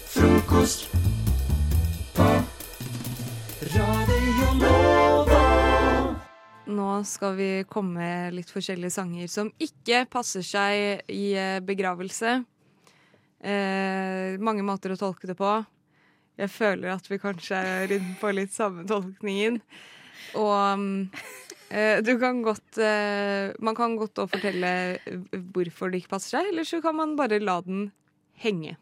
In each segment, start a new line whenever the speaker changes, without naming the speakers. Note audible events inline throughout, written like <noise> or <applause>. frokost på Radio Nova.
Nå skal vi komme med litt forskjellige sanger som ikke passer seg i eh, begravelse. Eh, mange måter å tolke det på. Jeg føler at vi kanskje er inne på litt samme tolkningen. Og mm, eh, du kan godt eh, Man kan godt også fortelle eh, hvorfor det ikke passer seg, eller så kan man bare la den henge.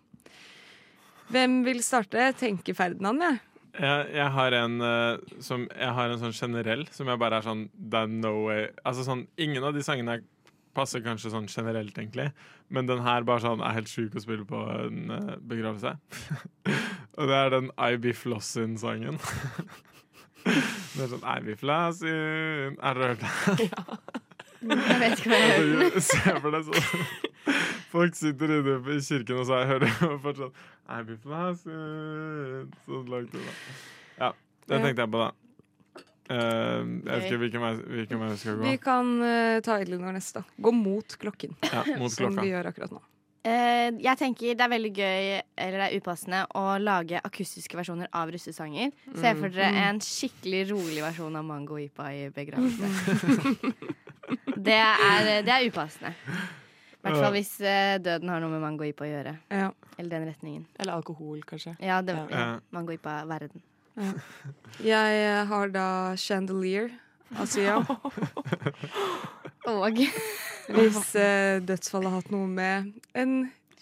Hvem vil starte? Tenker Ferdinand, jeg.
Jeg, jeg, har en, eh, som, jeg har en sånn generell som jeg bare er sånn Det er no way Altså sånn, Ingen av de sangene passer kanskje sånn generelt, egentlig. Men den her bare sånn er helt sjuk å spille på en eh, begravelse. <laughs> Og det er den I Be Flossin-sangen. <laughs> det er sånn I Be Flossin Har dere hørt den?
Jeg vet ikke hva jeg hører.
Altså, <laughs> Se for deg sånn Folk sitter inne i kirken og så hører sånn, de fortsatt I be blessed Sånn langt unna. Ja, det tenkte jeg på, da. Eh, jeg vet ikke hvilken vei, hvilken vei vi skal gå.
Vi kan eh, ta Elinor neste. Gå mot klokken,
Ja, mot
som
klokka.
vi gjør akkurat nå.
Eh, jeg tenker det er veldig gøy, eller det er upassende, å lage akustiske versjoner av russesanger. Se
Mm.
for dere en skikkelig rolig versjon av Mango Ipa i begravelse. <laughs> det, er, det er upassende. I hvert fall hvis eh, døden har noe med Mango Ipa å gjøre.
Ja.
Eller den retningen.
Eller alkohol, kanskje.
Ja, det, ja.
Ja.
Mango Ipa-verden.
Jeg eh, har da Chandelier av Sia.
Og
Hvis eh, dødsfallet har hatt noe med en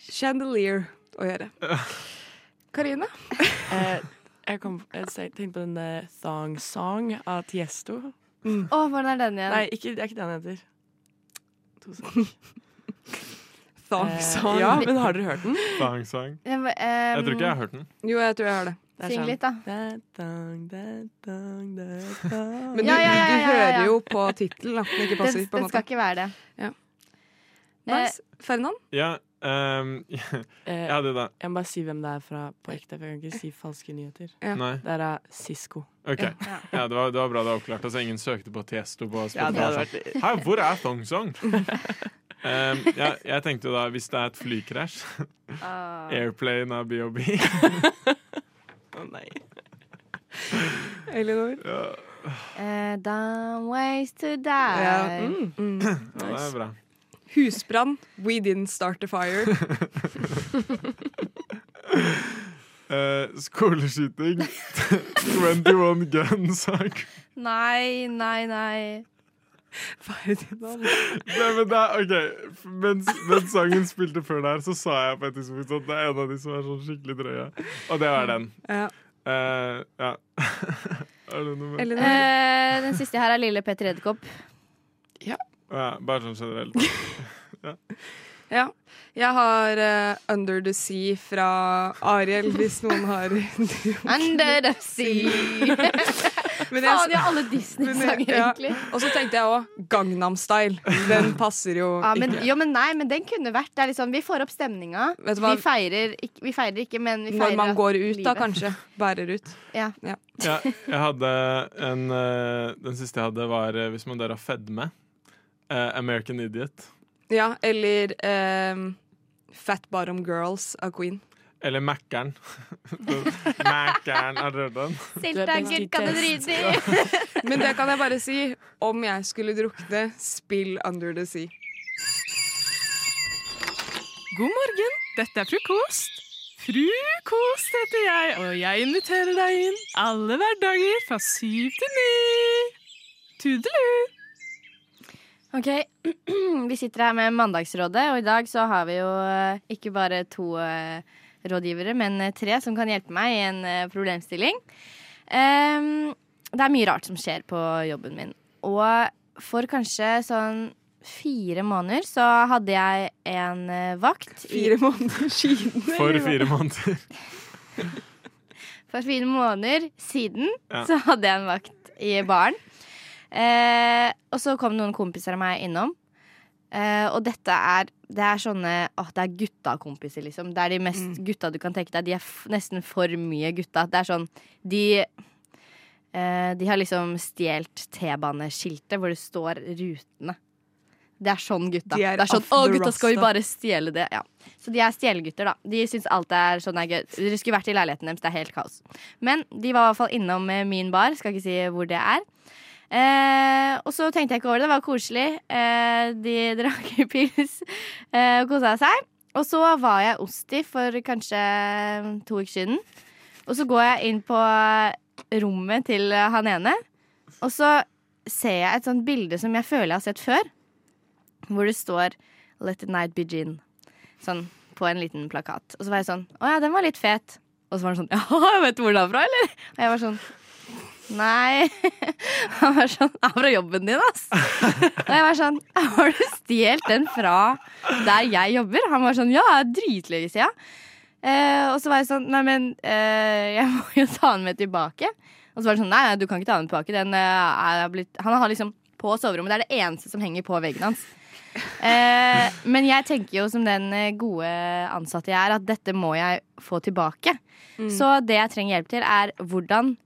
chandelier å gjøre. Karine?
Eh, jeg, kom, jeg se- tenkte på den eh, Thong Song av Tiesto.
Mm.
Å, hvordan er den igjen?
Nei, ikke, det er ikke den han heter. To sekunder.
Thong
Eh, ja, men har dere hørt den?
Sang, sang.
<laughs> Jeg, må- ehm,
Jeg tror ikke jeg har hørt den.
Jo, jeg tror jeg har det.
Det er
Syng
sånn.
litt, da.
Da, dang, da, dang, da, dang.
Men du,
Ja, ja, ja,
du
ja, ja, ja.
hører jo på tittelen at den ikke
Den,
passer. på en
den
måte.
skal ikke være det.
Ja.
Eh,
Nice. Ferdinand?
Ja, ehm, <laughs> jeg
Eh,
hadde det.
Jeg må bare si hvem det er fra på ekte, for jeg kan ikke si falske nyheter.
Ja.
Nei.
Det er av Sisko.
OK.
Ja.
Ja, det, var, det var bra det var oppklart. Altså, ingen søkte på Tiesto på Spotify.
vært
Hæ, hvor er Thong
<laughs>
Song? Ehm, ja, jeg tenkte jo da, hvis det er et flykrasj
ah.
Airplane av BOB.
Å nei.
Elinor?
Ja,
Eh, dumb ways to die.
Ja. Mm. Mm.
ja, det er bra.
Husbrann. We didn't start a fire.
Eh,
<laughs>
skoleskyting. 21 Gun-sang.
Nei, nei, nei.
Ferdinand.
Nei, men det er, ok, mens, mens sangen spilte før der, så sa jeg på et tidspunkt at det er en av de som er sånn skikkelig drøye. Og det var den.
Ja.
Eh, ja. <laughs> er det noe mer?
Elinor?
Eh, den siste her er lille Petter Edderkopp.
Ja, bare sånn generelt.
Ja. Jeg har eh, Under the Sea fra Ariel, hvis noen har
Under the sea.
<laughs>
Faen,
Men jeg,
de har alle Disney-sanger,
<laughs> Men jeg- ja.
egentlig.
og så tenkte jeg òg Gangnam Style. Den passer jo
Ja, men,
ikke.
jo, men nei, men den kunne vært det. Er liksom, vi får opp stemninga.
Vet du
Vi
hva?
feirer, ikke, vi feirer ikke, men vi feirer
Når man går ut, da,
livet.
kanskje. Bærer ut.
Ja.
<laughs> Ja, jeg hadde en eh, Den siste jeg hadde, var eh, hvis man dør av fedme. Eh, American Idiot.
Ja, eller ehm, Fat Bottom Girls av Queen.
Eller <laughs> Mækkern. Mækkern, har dere hørt den?
Silta, gutt, kan du drite i?
<laughs> Men det kan jeg bare si. Om jeg skulle drukne, spill Under the Sea.
God morgen, dette er frokost. Frukost heter jeg, og jeg inviterer deg inn alle hverdager fra syv til ni. Tudelu!
Ok, <clears throat> vi sitter her med Mandagsrådet, og i dag så har vi jo eh, ikke bare to eh, rådgivere, men eh, tre som kan hjelpe meg i en eh, problemstilling. Ehm, det er mye rart som skjer på jobben min, og for kanskje sånn fire måneder så hadde jeg en eh, vakt. i-
Fire måneder <laughs> siden.
For fire måneder.
For fire måneder siden
Ja.
så hadde jeg en vakt i baren. Eh, og så kom noen kompiser av meg innom. Eh, og dette er, det er sånne åh, det er gutta-kompiser, liksom. Det er de mest gutta du kan tenke deg. De er f nesten for mye gutta. Det er sånn De, eh, de har liksom stjålet T-baneskiltet hvor det står rutene. Det er sånn gutta.
De er
det er sånn,
off
Å,
the
gutta, skal vi
roster."
bare stjele det? Ja. Så de er stjelegutter, da. De syns alt er sånn er gøy. Dere skulle vært i leiligheten deres, det er helt kaos. Men de var i hvert fall innom eh, min bar, skal ikke si hvor det er. Eh, og så tenkte jeg ikke over det, det var koselig. Eh, de <laughs> drakk pils eh, og kosa seg. Og så var jeg hos de for kanskje to uker siden. Og så går jeg inn på rommet til han ene, og så ser jeg et sånt bilde som jeg føler jeg har sett før. Hvor det står 'Let the night begin'. Sånn på en liten plakat. Og så var jeg sånn 'Å ja, den var litt fet'. Og så var han sånn <laughs> 'Ja, vet du hvor den er fra, eller?' Og jeg var sånn Nei. <laughs> Han var sånn 'Den er fra jobben din, ass'. Og jeg var sånn <laughs> 'Har du stjålet den fra der jeg jobber?' Han var sånn 'Ja, det er dritlenge siden'. Eh, og så var jeg sånn Nei, men eh, jeg må jo ta den med tilbake. Og så var det sånn Nei, nei, du kan ikke ta den tilbake. Den, eh, er blitt, han har liksom på soverommet. Det er det eneste som henger på veggen hans. Eh, men jeg tenker jo som den eh, gode ansatte jeg er, at dette må jeg få tilbake. Så det jeg trenger hjelp til, er hvordan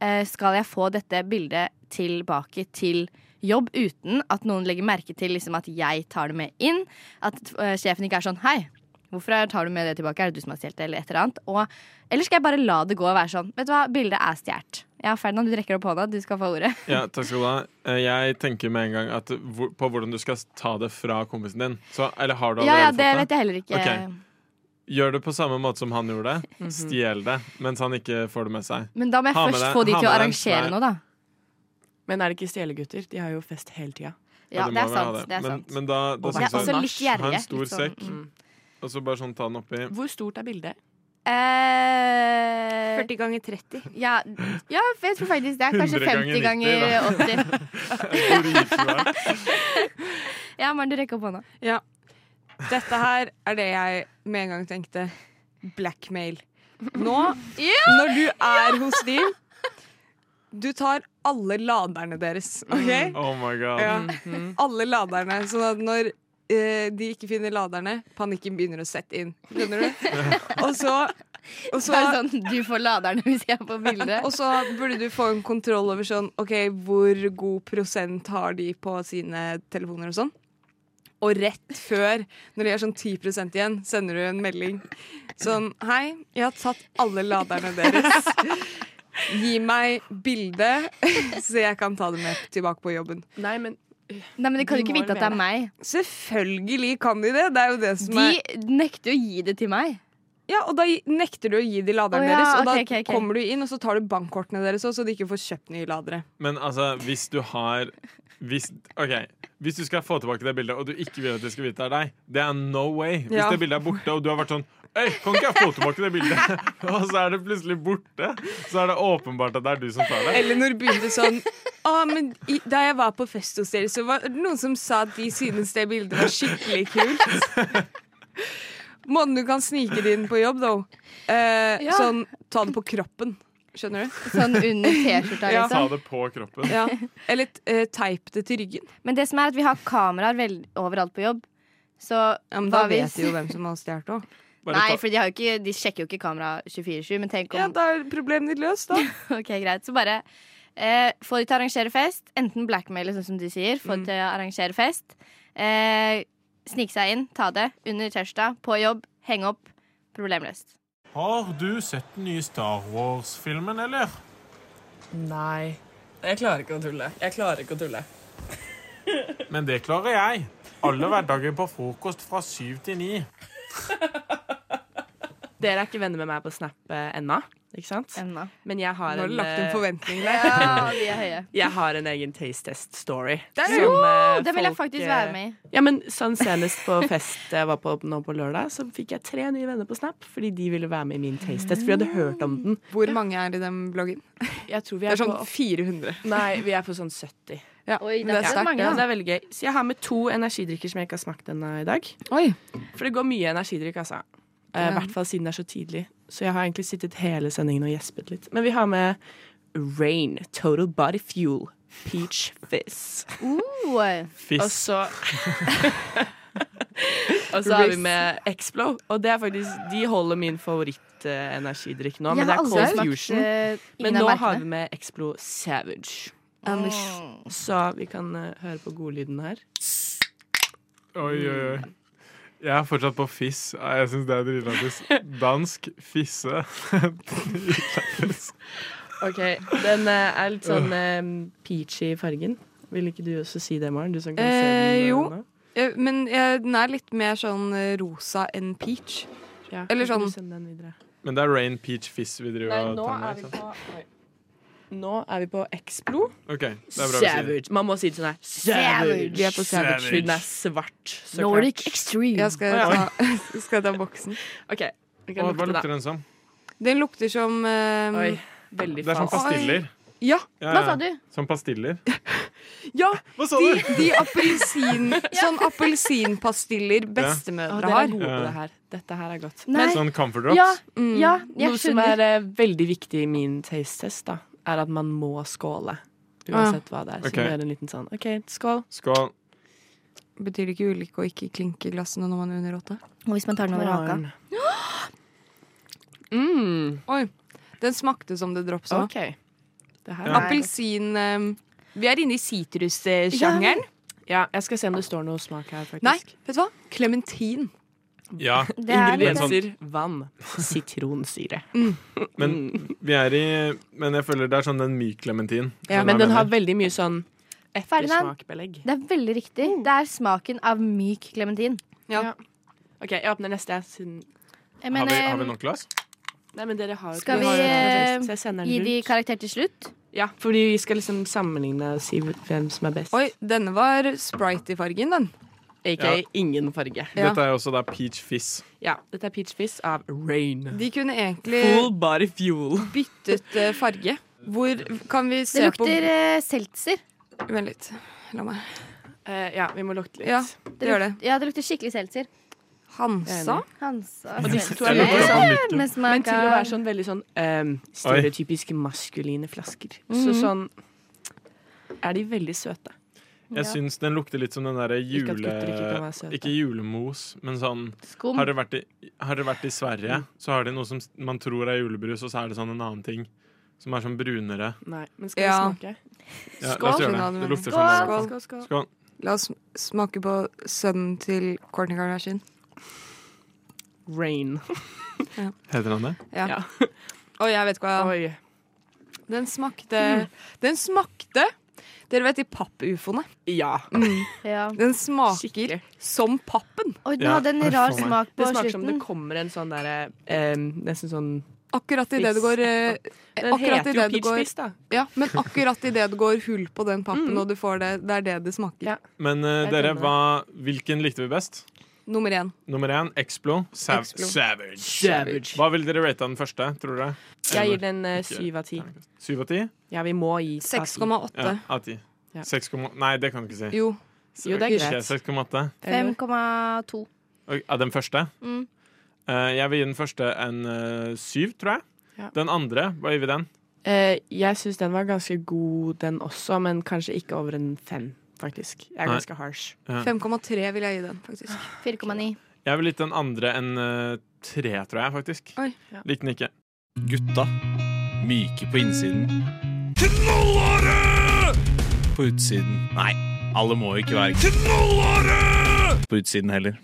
eh, skal jeg få dette bildet tilbake til jobb uten at noen legger merke til liksom, at jeg tar det med inn. At eh, sjefen ikke er sånn Hei, hvorfor tar du med det tilbake? Er det du som har stjålet det? Eller et eller annet. Og, eller skal jeg bare la det gå og være sånn Vet du hva, bildet er stjålet. Ja, Ferdinand, du rekker opp hånda. Du skal få ordet.
Ja, takk skal du ha. Eh, Jeg tenker med en gang at hvor- på hvordan du skal ta det fra kompisen din. Så, eller har du
Ja,
allerede
ja, det
fått det?
vet jeg heller ikke.
Ok. Gjør det på samme måte som han gjorde det. Stjel det mens han ikke får det med seg.
Men da må jeg
Ha med
først
deg-
få de
ha
til å
med deg en
arrangere
svær-
noe, da.
Men er det ikke stjelegutter? De har jo fest hele tida.
Ja, det
du må
er
vel ha
sant. Det er
men,
sant.
Men da, da
Og
Jeg
synes
er også
jeg,
litt
ha
gjerrig.
en stor
litt sånn,
sekk. og så bare sånn ta den oppi.
Hvor stort er bildet?
Eh,
40 ganger 30.
ja, ja, jeg tror faktisk det er kanskje
100
50 ganger
ganger
80.
Dritsvært.
<laughs> Ja, Maren, du rekker opp hånda.
Ja. Dette her er det jeg med en gang tenkte. Blackmail. Nå, når du er hos de Du tar alle laderne deres, OK?
Oh my god.
Ja.
Mhm.
Alle laderne. Sånn at når eh, de ikke finner laderne, panikken begynner å sette inn. Skjønner du?
<laughs>
Og så, og
Så
så,
er det sånn, du får laderne hvis jeg får bilde.
og så burde du få en kontroll over sånn OK, hvor god prosent har de på sine telefoner og sånn? Og rett før, når de har sånn 10 igjen, sender du en melding sånn Hei, jeg har tatt alle laderne deres. Gi meg bilde, <laughs> så jeg kan ta det med tilbake på jobben.
Nei, men
Nei, men De kan
De
jo ikke
må
vite
jo
at det er
mene.
meg.
Selvfølgelig kan de det. Det er jo det som
De
er
nekter jo å gi det til meg.
Ja, og da gi- nekter du å gi de
Å
laderen
ja,
deres, og da
ok, ok, ok.
kommer du inn, og så tar du bankkortene deres også, så de ikke får kjøpt nye ladere.
Men altså, hvis du har hvis, Ok, hvis du skal få tilbake det bildet, og du ikke vil at de skal vite det er deg, det er no way. Hvis
Ja.
det bildet er borte, og du har vært sånn Øy, kan ikke jeg få tilbake det bildet? <laughs> Og så er det plutselig borte. Så er det åpenbart at det er sånn du som tar det.
Elinor begynte sånn Å, men i, da jeg var på fest hos dere, så var det noen som sa at de synes det bildet var skikkelig kult. Måten du kan snike det inn på jobb, though. Eh,
Ja.
Sånn ta det på kroppen. Skjønner du?
Sånn under T-skjorta,
Ja.
Ta
liksom.
det på kroppen.
Ja. Eller eh, teip det til ryggen.
Men det som er at vi har kameraer vel, overalt på jobb. Så
Ja, men
hva
da vet
hvis-
du jo hvem som har stjålet òg.
Bare
Nei,
ta-
for de, har jo ikke, de sjekker jo ikke kamera 24-7, men tenk om
Ja, da er problemet ditt løst, da.
<laughs> Ok, greit. Så bare eh, få de til å arrangere fest. Enten blackmail, sånn som du sier. Få
Mm.
de til å arrangere fest. Eh, Snike seg inn, ta det. Under tirsdag, på jobb, henge opp. Problemløst.
<laughs> Har du sett den nye Star Wars-filmen, eller?
Nei. Jeg klarer ikke å tulle. Jeg klarer ikke å tulle.
Men det klarer jeg. Alle hverdager på frokost fra syv til ni.
Dere er ikke venner med meg på Snap eh, ennå, ikke sant?
Emna.
Men jeg har,
Nå har du
en,
lagt en
eh,
forventning
<laughs>
der.
Ja, vi er høye.
jeg har en egen taste test-story.
Der er
eh,
Den vil jeg
folk,
faktisk
eh,
være med i.
Ja, men sånn Senest på fest jeg var på nå på lørdag, så fikk jeg tre nye venner på Snap fordi de ville være med i min taste test. For de hadde hørt om den.
Hvor mange er i den bloggen?
Jeg tror vi
Det
er,
er sånn
på
400.
Nei, vi er på sånn 70.
Ja,
Oi,
men det er
sterkt,
sterkt.
mange,
Ja,
Ja.
det er veldig gøy. Så jeg har med to energidrikker som jeg ikke har smakt ennå i dag.
Oi.
For det går mye energidrikk, altså. Eh, I hvert fall siden det er så tidlig. Så jeg har egentlig sittet hele sendingen og gjespet litt. Men vi har med Rain Total Body Fuel Peach Fizz.
Oh,
Og
Fisk.
så <laughs> Og så har vi med Explo. Og det er faktisk De holder min favoritt-energidrikk nå, men det er Cold Fusion. Men nå har Mm. vi med Explo Savage. Så vi kan eh, høre på godlyden her.
Oi, oi, oi. Eh, Jeg er fortsatt på fiss. Ah, Jeg syns det er dritlættis. Dansk fisse. <laughs> Dritlættis.
OK. Den eh, er litt sånn eh, peachy i fargen. Vil ikke du også si det, Maren? Du som kan se den,
Eh,
eh,
jo.
nå.
Eh, Men eh, den er litt mer sånn eh, rosa enn peach.
Ja,
Eller
kan
sånn-
du sende den videre?
Men det er Rain Peach Fizz vi
Nei,
driver og
nå
tar
er
med.
vi
ikke sant?
på Nå er vi på Explo.
Ok, det er bra vi sier det.
Savage. Man må si det sånn her.
Savage.
Vi er på Savage.
Savage.
fordi Den er svart. Så
Nordic
klart.
Extreme.
Jeg skal, ta, <laughs> skal jeg ta boksen.
OK. Vi kan
Å, hva
lukte
lukter
den.
den som?
Den lukter som eh,
Oi. Veldig
Det er som
falsk.
pastiller.
Ja,
Ja,
Hva
ja.
sa du?
Som pastiller.
ja
Hva sa
de,
du?
de
<laughs>
appelsin, sånn appelsinpastiller bestemødre
dere er
har.
gode på
Ja.
det her. Dette her er godt.
Nei.
Sånn Comfort
Ja,
Drops.
Mm.
ja, jeg
Noe som
skjønner.
er eh, veldig viktig i min taste-test, da, er at man må skåle. Uansett hva det er. Så
Ok.
vi gjør en liten sånn OK, skål.
Skål.
Betyr det ikke ulykke å ikke klinke glassene når man er under åtte?
Og hvis man tar den over haka.
<gasps>
Maren. Mm,
Oi, den smakte som det drops òg.
OK. Det her
Ja.
er
Appelsin eh, Vi er inne i sitrussjangeren.
Ja, jeg skal se om det står noe smak her, faktisk.
Nei, vet du hva? Klementin.
Ja,
<laughs>
Det er litt
sånn-
Ingredienser, vann, <laughs> sitronsyre.
men
Mm.
vi er i Men jeg føler det er sånn den myk klementin.
Ja,
Men den har veldig mye sånn
Ferdinand.
ettersmakbelegg.
Det er veldig riktig.
Mm.
Det er smaken av myk klementin.
OK, jeg åpner neste. jeg, Siden...
Jeg
har,
mener,
vi, har vi nok glass?
Nei, men dere har jo
Skal
dere har
vi,
jo
eh,
det, så jeg sender
gi
den
de
rundt.
karakter til slutt.
Ja, fordi vi skal liksom sammenligne og si hvem som er best.
Oi, denne var Sprite i fargen, den.
Ikke
Ja.
ingen farge.
Ja.
Dette er jo også da peach fizz.
Ja, dette er Peach Fizz av Rain.
De kunne egentlig
Full body fuel.
byttet eh, farge. Hvor kan vi se
Det lukter
på
eh, seltzer.
Vent litt. La meg
Eh, ja, vi må lukte litt.
Ja,
Det
det gjør det.
lukter- Ja, det lukter skikkelig seltzer.
Hansa?
Hansa
Og disse to er
Jeg lurer på
veldig
om
sånn
den midt-
Med
Men til å
smak
være
av
sånn veldig sånn ehm, stereotypisk maskuline flasker. Så
Mhm.
Mm-hmm.
sånn er de veldig søte.
Jeg syns den lukter litt som den derre
Ikke at
jule...
gutter ikke kan være søte.
Ikke julemos, men sånn
skum.
Har dere vært, i- har dere vært i Sverige,
Mm.
så har de noe som man tror er julebrus, og så er det sånn en annen ting. Som er sånn brunere.
Nei, men skal
Ja.
vi smake?
Ja, la
Skål.
oss gjøre det. Det lukter
Skål.
sånn.
Skål.
Skål, skål.
Skål.
La oss smake på sønnen til Courtney Kardashian.
Rain.
Heter han det?
Ja.
<laughs> Ja.
Oi, jeg vet hva
Oi.
Den smakte Den smakte Dere vet de pappufoene?
Ja.
Mm.
Ja.
Den smaker
Skikkelig.
som pappen.
Oi, den
Ja.
hadde en
Oi,
rar
faen meg.
smak
Det
på
smaker som det
slutten.
kommer en sånn derre ehm, Nesten sånn
Akkurat idet det
Fiss.
går eh,
Den
Akkurat
heter
i det
jo
det
Peach
går-
Fizz, da.
Ja, men akkurat idet det går hull på den pappen, og du får det Det er det det smaker.
Ja.
Men eh,
Jeg
dere,
glemmer det.
hva, hvilken likte vi best?
Nummer én.
Nummer én, Explo. Sav
Explo.
Savage.
Savage.
Hva vil dere rate av den første, tror dere?
Jeg gir den eh,
Ikke-
syv av ti.
Syv av ti?
Ja, vi må gi av ti.
6,8.
Ja, av ti.
Ja.
Seks komma- Nei, det kan du ikke si.
Jo.
Jo, det er
Ikke
greit.
6,8.
5,2.
Og- Av den første?
Mm.
Eh, jeg vil gi den første en eh, syv, tror jeg.
Ja.
Den andre, hva gir vi den?
Eh, jeg syns den var ganske god, den også, men kanskje ikke over en fem, faktisk. Jeg er
Nei.
ganske harsh.
5,3 vil jeg gi den, faktisk.
4,9.
Jeg vil gitt den andre en eh, tre, tror jeg, faktisk.
Oi.
Ja.
Likte den ikke.
Gutta. Myke på innsiden. Knallharde! På utsiden. Nei, alle må jo ikke være knallharde! På utsiden heller.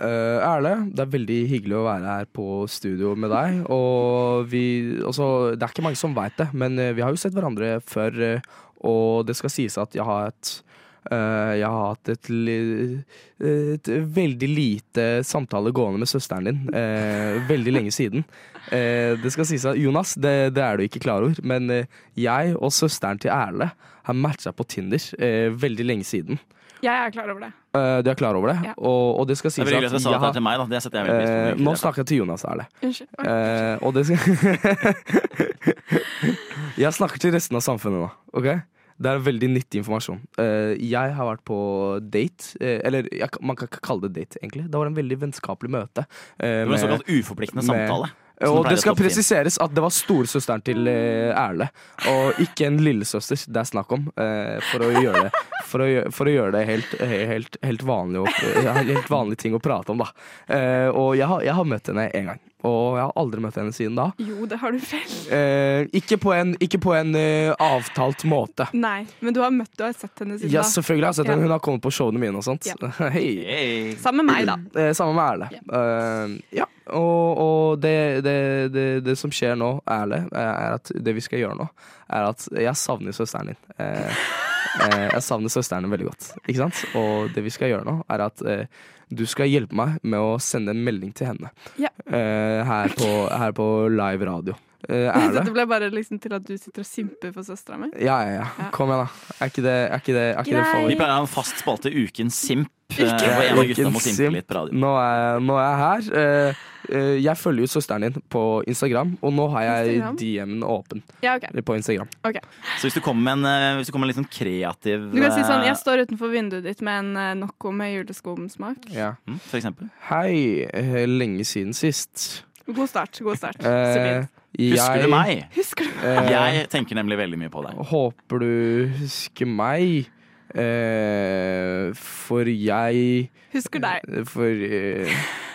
Eh, Erle, det er veldig hyggelig å være her på studio med deg. Og vi altså, Det er ikke mange som veit det, men eh, vi har jo sett hverandre før. eh, Og det skal sies at jeg har hatt eh, jeg har hatt et, li- et veldig lite samtale gående med søsteren din eh, veldig lenge siden. Eh, det skal sies at Jonas, det, det er du ikke klar over, men eh, jeg og søsteren til Erle har matcha på Tinder eh, veldig lenge siden.
Jeg er klar over det.
Eh, du er klar over det?
Ja.
Og, og det skal sies
Det er veldig hyggelig at dere sa
jeg
dette
har-
til meg. da Det setter jeg veldig
Eh, nå
pris på.
snakker jeg til Jonas, Erle.
Unnskyld. Oi.
Eh, og det skal <laughs> Jeg snakker til resten av samfunnet nå, OK? Det er veldig nyttig informasjon. Eh, jeg har vært på date, eh, eller jeg, man kan ikke kalle det date, egentlig. Det var en veldig vennskapelig møte.
Det
eh,
var en
med-
såkalt uforpliktende
med-
samtale. som
og
pleier
det
å
skal
stoppe til.
presiseres at det var storesøsteren til eh, Erle, og ikke en lillesøster det er snakk om, eh, for å gjøre det. For å, gjø- for å gjøre det helt, he- helt, helt, vanlig å, helt vanlige ting å prate om, da. Eh, og jeg har, jeg har møtt henne én gang. Og jeg har aldri møtt henne siden da.
Jo, det har du vel.
Eh, ikke på en, ikke på en eh, avtalt måte.
Nei, men du har møtt og sett henne siden
Ja, selvfølgelig har jeg sett
Ja.
henne. Hun har kommet på showene mine og sånt.
Ja.
<laughs> Hei.
da. Sammen med meg, da.
Eh, Samme med Erle. Eh, ja. Og, og det, det, det, det som skjer nå, Erle, eh, er at det vi skal gjøre nå, er at jeg savner søsteren din. Eh, eh, jeg savner søsteren din veldig godt. Ikke sant? Og det vi skal gjøre nå, er at eh, du skal hjelpe meg med å sende en melding til henne.
Ja.
Eh, her, på, her på live radio. Eh, Erle?
Dette ble bare liksom til at du sitter og simper for søstera mi.
Ja, ja, ja. Kom igjen, da. Er ikke det, er ikke det, er ikke det
Grei.
Vi
farlig?
pleier å ha en fast spalte, Ukens simp, eh, hvor en av gutta må
Ukens
simpe
simp.
litt på radio.
Nå er, nå er jeg her. Eh, eh, jeg følger jo søsteren din på Instagram, og nå har jeg
Instagram?
DM-en åpen
Ja, ok.
på Instagram.
Så hvis du kommer med en, eh, hvis du kommer med en litt sånn kreativ
Du kan si sånn
eh,
'Jeg står utenfor vinduet ditt med en eh, Nocco med juleskumsmak'.
Ja.
mm, For eksempel.
Hei, eh, lenge siden sist.
God start. god start
Eh,
Solid.
Husker
jeg-
du meg?
Husker du?
eh,
Jeg tenker nemlig veldig mye på deg.
Håper du husker meg. Eh, for jeg
Husker deg.
For, eh,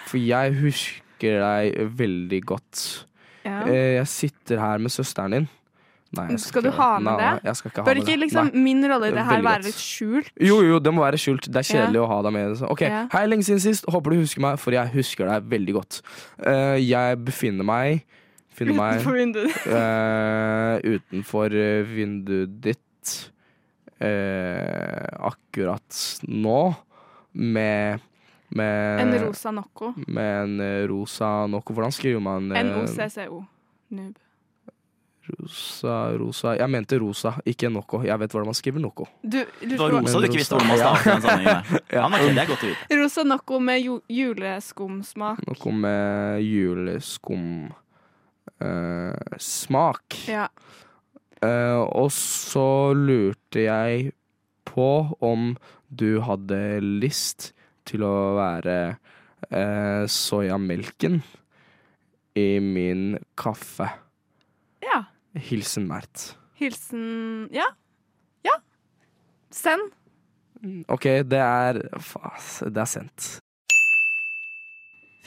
for jeg husker deg veldig godt.
Ja.
Eh, Jeg sitter her med søsteren din. Nei, jeg
Skal
ikke
du
gjøre
ha
det.
med
nei,
det?
Nei, jeg skal ikke ha
Bør
med
ikke
det.
liksom
Nei.
min rolle i det her
Veldig godt.
være litt skjult?
Jo, jo, det må være skjult. Det er kjedelig å ha deg med. Ok,
Ja.
Hei, lenge siden sist. Håper du husker meg, for jeg husker deg veldig godt. Eh, jeg befinner meg Finner meg
Utenfor vinduet ditt.
eh, utenfor eh, vinduet ditt eh, akkurat nå med med
En rosa Nocco.
Med en eh, rosa Noko. Hvordan skriver man eh,
NOCCO. Noob.
Rosa, rosa Jeg mente rosa, ikke Noko. Jeg vet hvordan man skriver Noko.
Du,
Det var Rosa du ikke visste hvordan man
Ja.
startet den sammenhengen
<laughs>
der. Ja, men ok, det er godt å vite.
Rosa Nocco med ju juleskumsmak.
Noe med juleskum eh, smak.
Ja.
Eh, og så lurte jeg på om du hadde lyst til å være eh, soyamelken i min kaffe.
ja.
Hilsen Mert.
Hilsen Ja. Ja. Send.
OK, det er Fas, det er sendt.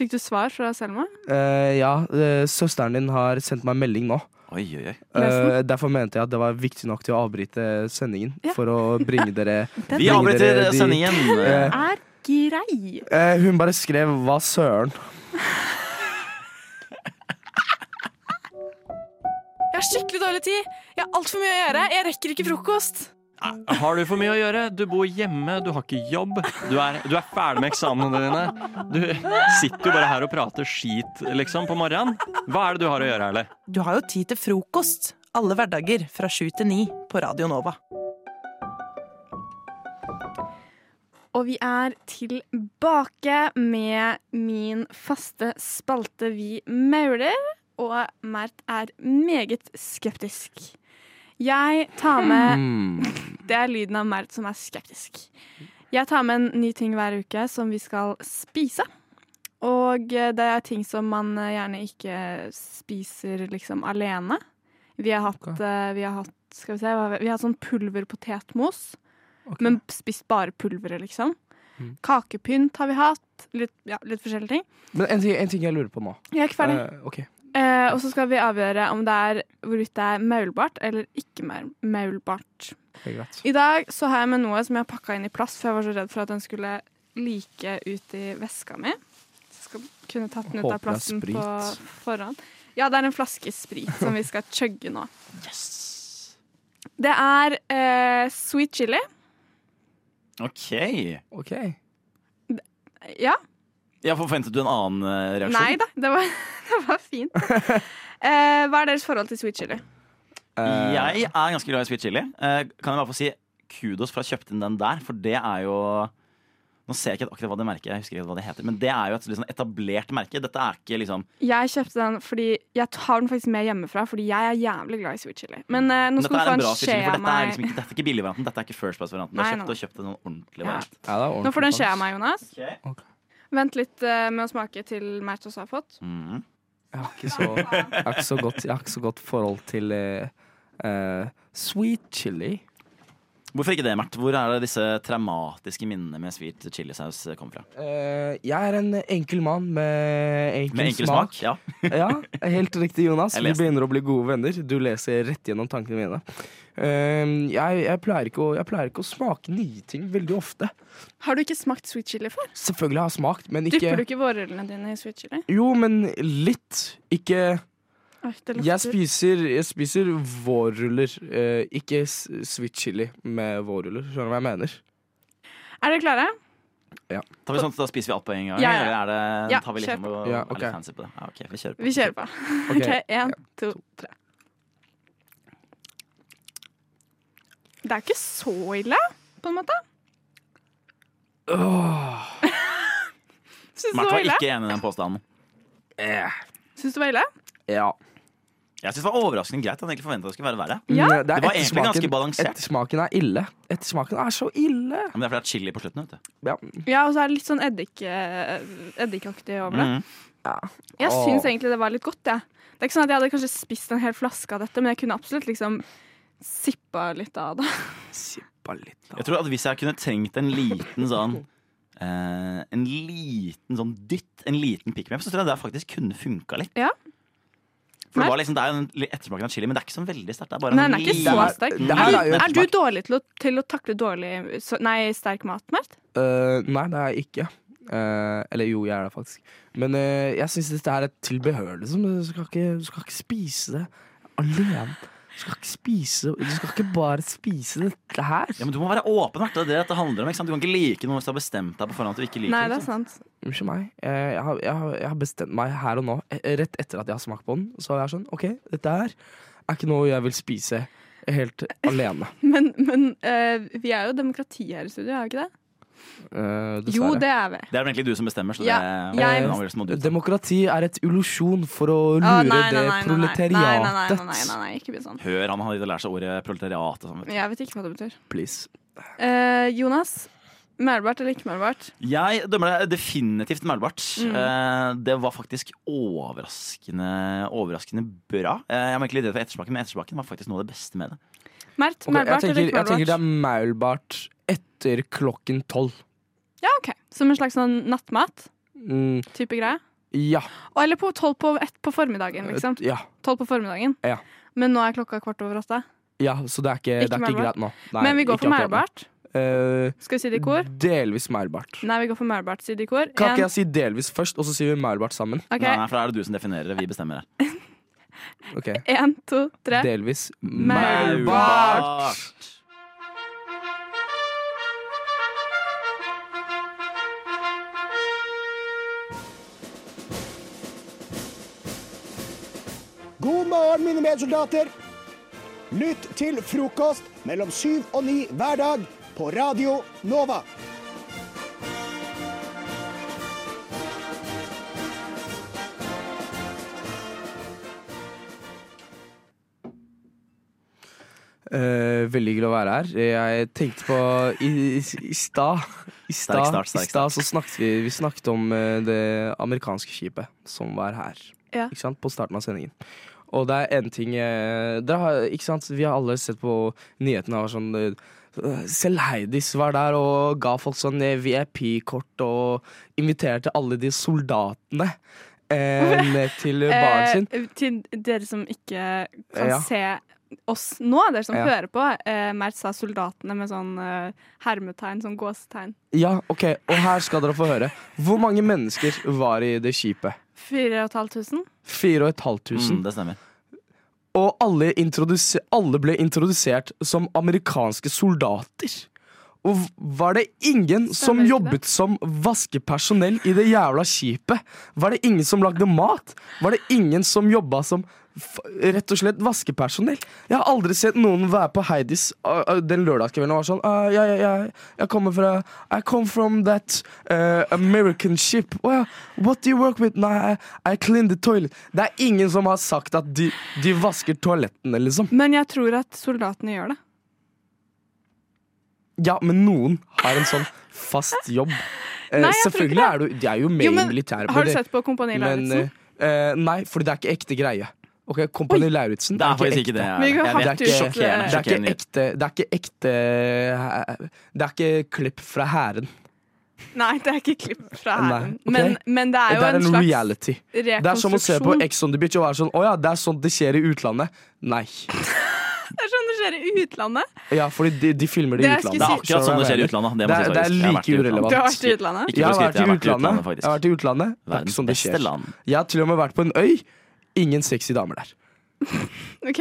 Fikk du svar fra
<laughs>
Selma?
Eh, ja, eh, søsteren din har sendt meg en melding nå.
Oi, oi, oi.
Eh, derfor mente jeg at det var viktig nok til å avbryte sendingen.
Ja.
For å
<laughs>
bringe dere
Vi
Bringer
avbryter
dere de-
sendingen.
Eh,
Er grei.
eh, Hun bare skrev 'hva søren'.
Jeg har skikkelig dårlig tid. Jeg har altfor mye å gjøre. Jeg rekker ikke frokost.
Har du for mye å gjøre? Du bor hjemme, du har ikke jobb. Du er, du er ferdig med eksamene dine. Du sitter jo bare her og prater skit, liksom, på morgenen. Hva er det du har å gjøre, Erle?
Du har jo tid til frokost. Alle hverdager fra sju til ni på Radio Nova.
Og vi er tilbake med min faste spalte Vi mauler. Og Mert er meget skeptisk. Jeg tar med Det er lyden av Mert som er skeptisk. Jeg tar med en ny ting hver uke som vi skal spise. Og eh, det er ting som man eh, gjerne ikke spiser liksom alene. Vi har hatt,
Ok.
eh, vi har hatt skal vi se, hva har vi- vi har hatt sånn pulverpotetmos. Men spist bare pulveret, liksom.
Mm.
Kakepynt har vi hatt. Litt, ja, litt forskjellige ting.
Men en ting, en ting jeg lurer på nå.
Jeg er ikke ferdig.
Eh, ok.
Eh, og så skal vi avgjøre om det er hvorvidt det er maulbart eller ikke maul- maulbart.
ok, greit.
I dag så har jeg med noe som jeg har pakka inn i plast, for jeg var så redd for at den skulle like ut i veska mi. Så jeg skal kunne tatt den ut av
Håper det
plasten
er
på
sprit.
forhånd. Ja, det er en flaske sprit som vi skal chugge nå. Det er eh, sweet chili. Eh,
Ok.
Ok.
Ja.
Ja, forventet du en annen
Nei
eh, reaksjon?
da, det var, <laughs> det var fint. Eh, hva er deres forhold til sweet chili?
Eh,
Jeg er ganske glad i sweet chili. Eh, Kan jeg bare få si kudos for å ha kjøpt inn den der, for det er jo nå ser jeg ikke akkurat hva det merket jeg husker ikke hva det heter, men det er jo et litt sånn etablert merke. Dette er ikke liksom
Jeg kjøpte den fordi Jeg har den faktisk med hjemmefra, fordi jeg er jævlig glad i sweet chili. Men eh, nå
Men
skal du
Dette er
få
en
en
bra sweet
skje
chili, for
av
dette er,
meg.
liksom ikke, dette er ikke billigvarianten. Dette er ikke first price-varianten. Du har
Nei, nei.
kjøpt, og kjøpt en sånn ordentlig
Ja.
variant.
Ja, det
Nå
er
får du en
ordentlig
skje av
fast.
meg, Jonas. Vent litt eh, med å smake til Mert også har fått.
Mhm.
Jeg har ikke så, jeg har ikke så, godt, jeg har ikke så godt forhold til eh, eh, sweet chili.
Hvorfor ikke det, Mert? Hvor er det disse traumatiske minnene med sweet chilisaus kommer fra?
Eh, jeg er en enkel mann med enkel,
Med enkel
smak.
smak, ja.
<laughs> ja, Helt riktig, Jonas.
Jeg
Vi
leste.
begynner å bli gode venner. Du leser rett gjennom tankene mine. Eh, jeg, jeg, pleier ikke å, jeg pleier ikke å smake nye ting veldig ofte.
Har du ikke smakt sweet chili før?
Selvfølgelig har jeg smakt, men ikke
Dypper du ikke vårrullene dine i sweet chili?
Jo, men litt. Ikke
Oi, det lukter.
Jeg spiser, jeg spiser vårruller, eh, ikke s- sweet chili med vårruller. Skjønner du hva jeg mener?
Er dere klare?
Ja.
Tar vi sånn, da spiser vi alt på en gang?
Ja, ja.
Eller er det,
Ja,
tar vi
kjør
liksom
på.
og
Ja,
er litt
ok.
fancy på det? Ja, ok, vi kjører på.
Vi kjører på. <laughs>
Ok.
OK, én, to, tre. Det er ikke så ille, på en måte. Syns du det
Mert
var
var
ille?
ikke enig i den påstanden.
Syns du det var ille?
Eh, Ja.
Jeg syns det var overraskende greit. Han egentlig forventa det skulle være verre.
Mm,
Det, var egentlig
ettersmaken-
ganske balansert.
Ettersmaken er ille. Ettersmaken er så ille.
Ja, men det er fordi det er chili på slutten, vet du.
Ja.
Ja, og så er det litt sånn eddik, eh, eddikaktig over det.
Mhm.
Jeg
Åh.
syns egentlig det var litt godt, jeg. Det er ikke sånn at jeg hadde kanskje spist en hel flaske av dette, men jeg kunne absolutt liksom sippa litt av det.
Jeg tror at hvis jeg kunne trengt en liten sånn eh, En liten sånn dytt, en liten pick me up, så tror jeg det faktisk kunne funka litt.
Ja.
For det, var liksom, det er jo en li- ettersmaken av chili, men det er ikke sånn veldig sterkt. Det er bare
Nei,
en
den er ikke
liten-
så sterk.
liten-
Er, du- er du dårlig til å, til å takle dårlig så, Nei, sterk mat, Mert?
Eh, nei, det er jeg ikke. Eh, eller jo, jeg er det faktisk. Men eh, jeg syns dette er et tilbehør, liksom. Du skal ikke, du skal ikke spise det alene. Du skal ikke spise Du skal ikke bare spise dette her.
Ja, men Du må være åpen. Marte. Det er det det handler om. Ikke sant? Du kan ikke like noe hvis du har bestemt deg på forhånd at du ikke liker liksom.
Nei, det
ikke
er sant.
Liksom. Unnskyld meg. Eh, Jeg har, jeg, har, jeg har bestemt meg her og nå, eh, rett etter at jeg har smakt på den. Så jeg er sånn, ok, dette her er ikke noe jeg vil spise helt alene.
Men, men eh, vi er jo demokrati her i studio, er vi ikke det?
Eh, dessverre.
Jo, det er vi.
Det er vel egentlig du som bestemmer, så
Ja,
det
jeg-
den avgjørelsen må du ta.
Demokrati er et illusjon for å lure
Å, nei, nei,
det
nei, nei, nei. Nei, nei, nei, nei, nei, nei,
proletariatet.
nei, ikke bli sånn.
Hør, han hadde lært seg ordet proletariat. Og sånn, vet du.
Jeg vet ikke hva det betyr.
Please.
Eh, Jonas, melbart eller ikke melbart?
Jeg dømmer deg definitivt melbart.
Mm.
Eh, det var faktisk overraskende, overraskende bra. Eh, jeg var egentlig redd for ettersmaken, men ettersmaken var faktisk noe av det beste med det.
Mert,
Ok, jeg,
melbart
tenker,
eller ikke
jeg tenker det
melbart?
er maulbart etter klokken tolv.
Ja, ok. Som en slags sånn nattmat-type
Mm,
greie?
ja.
Og- Eller på tolv på, ett på formiddagen, liksom.
Et- ja.
Tolv på formiddagen.
Ja.
Men nå er klokka kvart over åtte.
ja, så Eh, det er ikke, det er ikke
maulbart.
greit nå. Nei,
Men vi går
ikke
for
akkurat nå.
maulbart.
Eh,
Skal vi si det i kor?
delvis maulbart.
Nei, vi går for maulbart, sier de i kor.
Kan
En-
ikke jeg si delvis først, og så sier vi maulbart sammen?
Ok.
Nei, nei, for da er det du som definerer det. Vi bestemmer det.
Ok.
En, to, tre.
Delvis
Maulbart.
God morgen, mine medsoldater. Lytt til frokost mellom syv og ni hver dag på Radio Nova.
Eh, veldig hyggelig å være her. Jeg tenkte på I, i, i stad
Sterk
I stad
start,
i
sterk
stad så snakket vi Vi snakket om eh, det amerikanske skipet som var her.
Ja.
Ikke sant? På starten av sendingen. Og det er en ting eh, dere har, ikke sant? Vi har alle sett på nyhetene og sånn eh, selv Heidis var der og ga folk sånn eh, VIP-kort og inviterte alle de soldatene eh,
<laughs>
ned til baren sin.
Eh, til dere som ikke kan
Ja.
se oss nå, dere som
Ja.
hører på. Eh, Mert sa soldatene med sånn eh, hermetegn, sånn gåsetegn.
Ja, ok, og her skal dere få høre. Hvor mange mennesker var i det skipet?
4500?
4500.
Mm, det stemmer.
Og alle, introduser- alle ble introdusert som amerikanske soldater. Og v- var det ingen som jobbet som vaskepersonell i det jævla skipet? Var det ingen som lagde mat? Var det ingen som jobba som f rett og slett vaskepersonell? Jeg har aldri sett noen være på Heidis øh, øh, den lørdagskvelden og være sånn «Ah, jeg, jeg, jeg, jeg kommer fra I come from that øh, American ship. «Å ja, what do you work with? Nei, I, I clean the toilet. Det er ingen som har sagt at de, de vasker toalettene, liksom.
Men jeg tror at soldatene gjør det.
Ja, men noen har en sånn fast jobb.
Nei,
Eh,
jeg tror ikke
selvfølgelig er du De er jo med
Jo, men
i militæret.
har
men
du
det-
sett på Kompani
men,
Lauritzen?
eh, eh, nei, fordi det er ikke ekte greie. Ok, Kompani Lauritzen.
Det er faktisk ikke det. Vi har
Det er
hatt
ikke-
ut- Sjokkerende,
det er ikke
sjokkerende.
ekte Det er ikke ekte Det er ikke klipp fra hæren.
Nei, det er ikke klipp fra hæren.
Nei, ok.
Men, men det er jo
det er
en,
en
slags
reality. Det er som å se på
rekonstruksjon.
Ex on the Beach og være sånn Å ja, det er sånn det skjer i utlandet. Nei.
Det er sånn det skjer i utlandet.
Ja, fordi de, de filmer det i
Det er
utlandet.
skissert. Det er akkurat
sånn det skjer i utlandet, det må
Det er,
sies
det er
faktisk. Jeg har vært i
like
utlandet.
urelevant.
Du har vært i utlandet?
Ikke
Jeg har
for å skryte,
vært
jeg har vært i
i utlandet.
utlandet, faktisk.
Jeg har vært i utlandet. Det er ikke
Verdens
sånn det
beste
skjer.
land.
Jeg har til og med vært på en øy. Ingen sexy damer der.
Ok,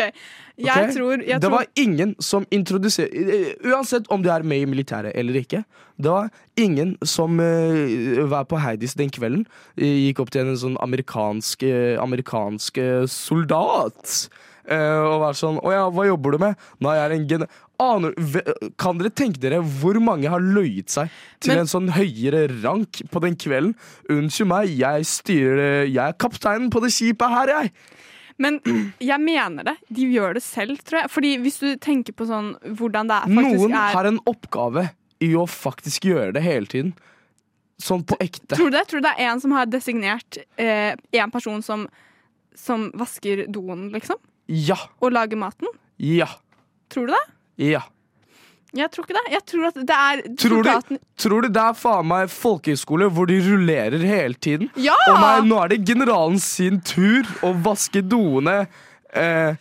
jeg
Ok?
tror, jeg
det
tror
var ingen som introduserte Uansett om du er med i militæret eller ikke. Det var ingen som eh, var på Heidis den kvelden, eh, gikk opp til en sånn amerikansk, eh, amerikansk eh, soldat. eh, og var sånn Å ja, hva jobber du med? Nei, jeg er en gen... Aner, ve- kan dere tenke dere hvor mange har løyet seg til
Men-
en sånn høyere rank på den kvelden? Unnskyld meg, jeg styrer det- Jeg er kapteinen på det skipet her, jeg!
Men jeg mener det. De gjør det selv, tror jeg. Fordi hvis du tenker på sånn hvordan det er faktisk
Noen
er
har en oppgave i å faktisk gjøre det hele tiden. Sånn på ekte.
Tror du det? Tror du det er en som har designert eh, en person som, som vasker doen, liksom?
Ja.
Og lager maten?
Ja.
Tror du det?
Ja.
Jeg tror ikke det. Jeg tror at det er
Tror du,
soldaten-
tror du det er faen meg folkehøyskole hvor de rullerer hele tiden?
Ja!
Og nei, nå er det generalen sin tur å vaske doene eh,